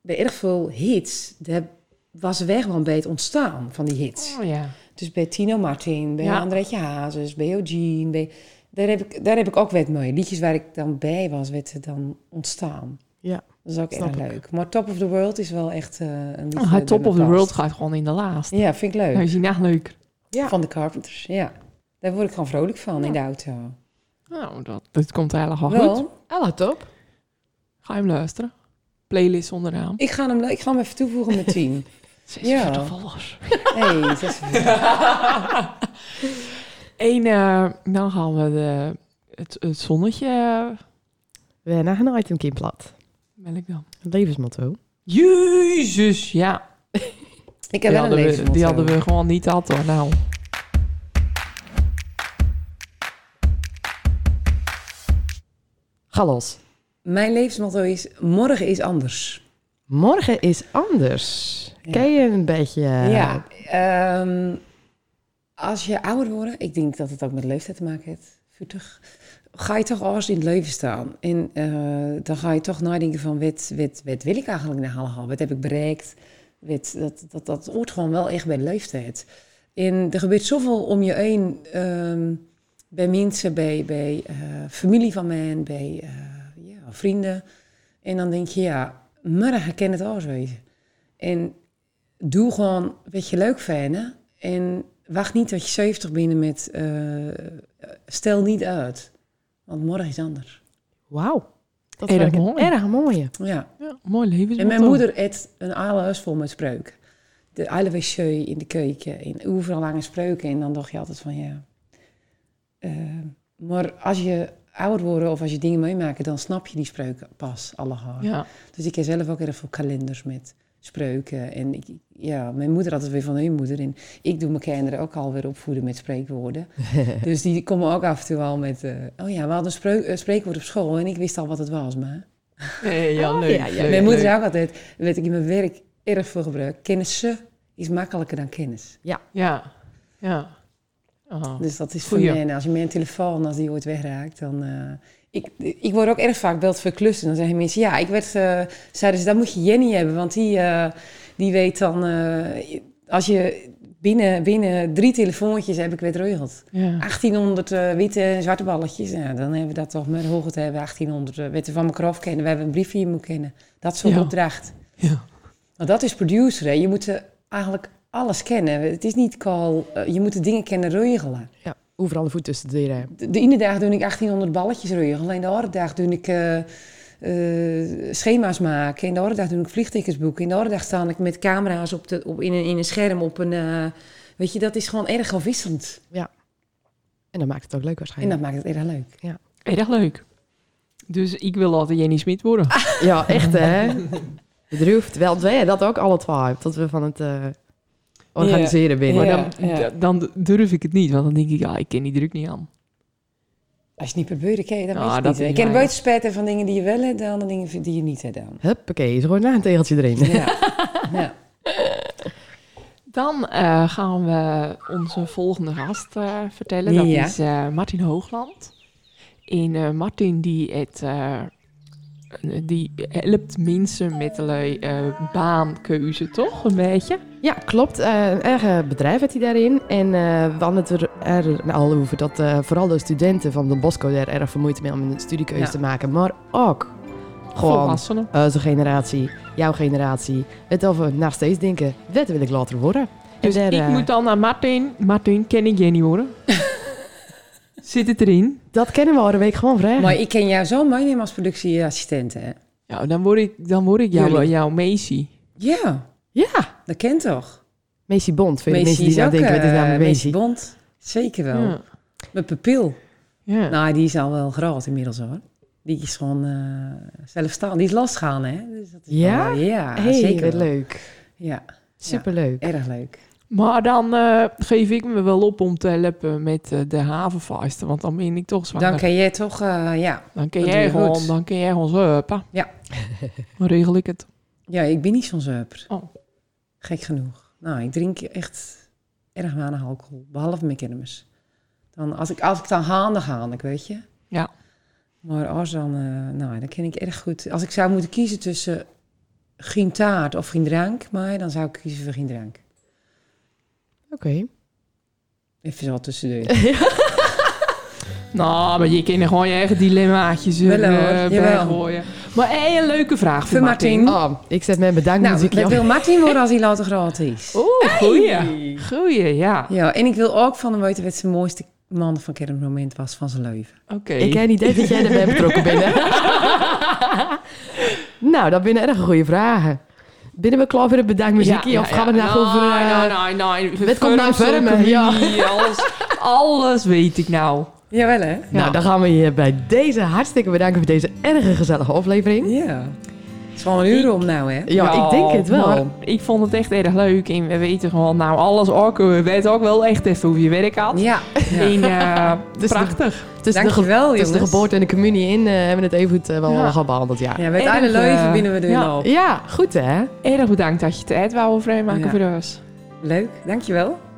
bij erg veel hits, daar was weg wel bij het ontstaan van die hits. oh ja. Dus bij Tino Martin, bij Ja. Andretje Hazes, bij Eugene. Bij, daar, heb ik, daar heb ik ook wat mooie liedjes waar ik dan bij was, werd het dan ontstaan. Ja, Dat is ook snap erg ik. leuk. Maar Top of the World is wel echt eh, een liedje. Oh, hij dat top bij me of the past. world gaat gewoon in de laatste. Ja, vind ik leuk. Nou, is hij echt leuk. Ja. Van de Carpenters, ja. Daar word ik gewoon vrolijk van in de auto. Nou, dat, dit komt helemaal Wel, goed. Ella, top. Ga je hem luisteren. Playlist onderaan. ik ga, hem, ik ga hem even toevoegen met tien. Ja. 46 volgers. hey, dat is- Eén, eh, dan gaan we de, het, het zonnetje... eh, We naar een item Kim plat. Welk dan? Een levensmotto. Jezus, ja. ik Die heb wel een hadden, we, levensmotto. die hadden we gewoon niet had hoor. Nou, Ga los. Mijn levensmotto is, morgen is anders. Morgen is anders. Ken je een beetje... eh, Ja. ehm, als je ouder wordt, ik denk dat het ook met leeftijd te maken heeft, 40, ga je toch anders in het leven staan. En eh, dan ga je toch nadenken van, wat, wat, wat wil ik eigenlijk naar halen? Wat heb ik bereikt? Wat, dat, dat, dat hoort gewoon wel echt bij de leeftijd. En er gebeurt zoveel om je heen, ehm, bij mensen, bij, bij eh, familie van men, bij eh, ja, vrienden. En dan denk je, ja, morgen kan het anders wezen. En doe gewoon wat je leuk vindt. hè. En wacht niet dat je 70 binnen met... eh, stel niet uit. Want morgen is anders. Wauw. Dat Erg vind ik een mooi. Erg mooie. Ja. ja, mooi levensmotto. En mijn moeder eet een hele huis vol met spreuken. De hele wc in de keuken. En overal lange spreuken. En dan dacht je altijd van ja... eh, maar als je ouder wordt of als je dingen meemaakt... dan snap je die spreuken pas, alle haar. Ja, Dus ik heb zelf ook erg veel kalenders met spreuken. En ik, ja, mijn moeder had het weer van hun moeder. En ik doe mijn kinderen ook alweer opvoeden met spreekwoorden. dus die komen ook af en toe al met... eh, oh ja, we hadden een spreuk- eh, spreekwoord op school en ik wist al wat het was. Maar nee, ja, leuk. ja, ja. leuk, Oh, mijn moeder leuk. zei ook altijd, weet ik in mijn werk erg veel gebruik. Kennissen is makkelijker dan kennis. Ja, ja. Ah. Dus dat is voor Goeie. mij. En als je mijn telefoon, als die ooit wegraakt, dan... eh, ik, ik word ook erg vaak beld voor klussen. Dan zeggen mensen, ja, ik werd... eh, zeiden ze, dat moet je Jenny hebben, want die, eh, die weet dan... eh, als je binnen, binnen drie telefoontjes heb ik weer regeld. Ja. 1800 eh, witte en zwarte balletjes. Ja, dan hebben we dat toch met hoge te hebben. 1800 eh, witte van mijn krof kennen. We hebben een briefje hier moeten kennen. Dat soort Ja. opdracht. Ja. Want dat is producer, hè. Je moet eh, eigenlijk alles kennen. Het is niet call... eh, je moet de dingen kennen regelen. Ja, overal de voet tussen de deur. De, de ene dag doe ik 1800 balletjes ruggen. Alleen de andere dag doe ik eh, eh, schema's maken. En de andere dag doe ik vliegtickets boeken. En de andere dag sta ik met camera's op de, op, in, een, in een scherm op een... eh, weet je, dat is gewoon erg afwisselend. En dat maakt het ook leuk En dat waarschijnlijk. maakt het erg leuk. Erg leuk. Dus ik wil altijd Jenny Smit worden. Ah, Ja, echt hè. Bedroefd. Wel, dat je dat ook alle twaalf. Dat we van het eh, organiseren binnen. maar Ja, dan, ja. d- dan durf ik het niet, want dan denk ik, ja, ik ken die druk niet aan. Als je het niet probeert, dan Ah, weet je het dat niet. hè. is Ik ken waar. buiten spijten van dingen die je wel hebt gedaan en dingen die je niet hebt gedaan. Huppakee, is gewoon na een tegeltje erin. Ja. ja. Dan eh, gaan we onze volgende gast eh, vertellen. Dat Ja. is eh, Martin Hoogland. En eh, Martin die, het, eh, die helpt mensen met allerlei eh baankeuze, toch? Een beetje? Ja, klopt. Eh, een eigen bedrijf heeft hij daarin. En eh, we hadden het er, er al over dat eh, vooral de studenten van Don Bosco daar erg vermoeid mee om een studiekeuze Ja. te maken. Maar ook gewoon Volwassenen. onze generatie, jouw generatie, het over na steeds denken, dat wil ik later worden. Dus En daar, ik eh, moet dan naar Martin. Martin, ken ik Jenny worden? Zit het erin? Dat kennen we al een week gewoon vragen. Maar ik ken jou zo meenemen als productieassistent, hè? Ja, dan word ik, dan word ik jouw, Jullie. jouw Macy. Ja, Ja, dat kent toch? Macy Bond. Voor de Macy mensen die is nou ook, denken, wat is nou eh, met Macy Macy? Bond. Zeker wel. Ja. Mijn pupil. Ja. Nou, die is al wel groot inmiddels, hoor. Die is gewoon eh zelfstandig. Die is losgaan, hè? Dus dat is Ja? wel- ja, hey, zeker wat wel. leuk. Ja, Superleuk. erg leuk. Maar dan eh, geef ik me wel op om te helpen met eh, de havenvuisten. Want dan ben ik toch zwanger. Dan ken jij toch, eh, ja. Dan kun Dat jij doe je gewoon, goed. dan kun jij gewoon zuipen. Ja. Dan regel ik het. Ja, ik ben niet zo'n zuiper. Oh. Gek genoeg. Nou, ik drink echt erg weinig alcohol, behalve mijn kermis. Dan, als, ik, als ik dan haal, dan haal ik, weet je. Ja. Maar als dan, eh, nou, dan ken ik erg goed. Als ik zou moeten kiezen tussen geen taart of geen drank, maar dan zou ik kiezen voor geen drank. Oké. Even zo tussendoor. Nou, maar je kan er gewoon je eigen dilemmaatjes eh, Wel hoor, bij jawel. gooien. Maar hey, een leuke vraag voor Voor Martin. Martin. Oh, ik zet mijn nou, bedankmuziekje dat wil Martin worden als hij later groot is. Oeh, goeie. Goeie, ja. Ja, en ik wil ook van hem weten wat zijn mooiste, man van kernmoment was van zijn leven. Oké. Ik heb niet idee dat jij erbij betrokken bent. hè? nou, dat zijn erg goede vragen. Binnen we klaar voor de bedankt muziekje? of gaan we nou over... eh, Nee, nee, nee. wat komt nou Verder verder, ja. familie, Alles, alles weet ik nou. Jawel, hè? Nou, dan gaan we je bij deze hartstikke bedanken voor deze erg gezellige aflevering. Ja. Het is gewoon een uur om nou, hè? Ja, ik denk het wel. maar ik vond het echt erg leuk. En we weten gewoon, nou, alles ook. We weten ook wel echt even hoe je werk had. Ja. En eh, Dus de- prachtig. Tussen de, ge- Dankjewel, tussen de jongens. geboorte en de communie in eh, hebben we het even goed eh, wel Ja. gehad behandeld, ja. ja. Ja, nou. met Erg, alle leuven eh, binnen we er ja. al. goed hè? Erg bedankt dat je tijd wou vrijmaken Ja. voor ons. Leuk, dankjewel.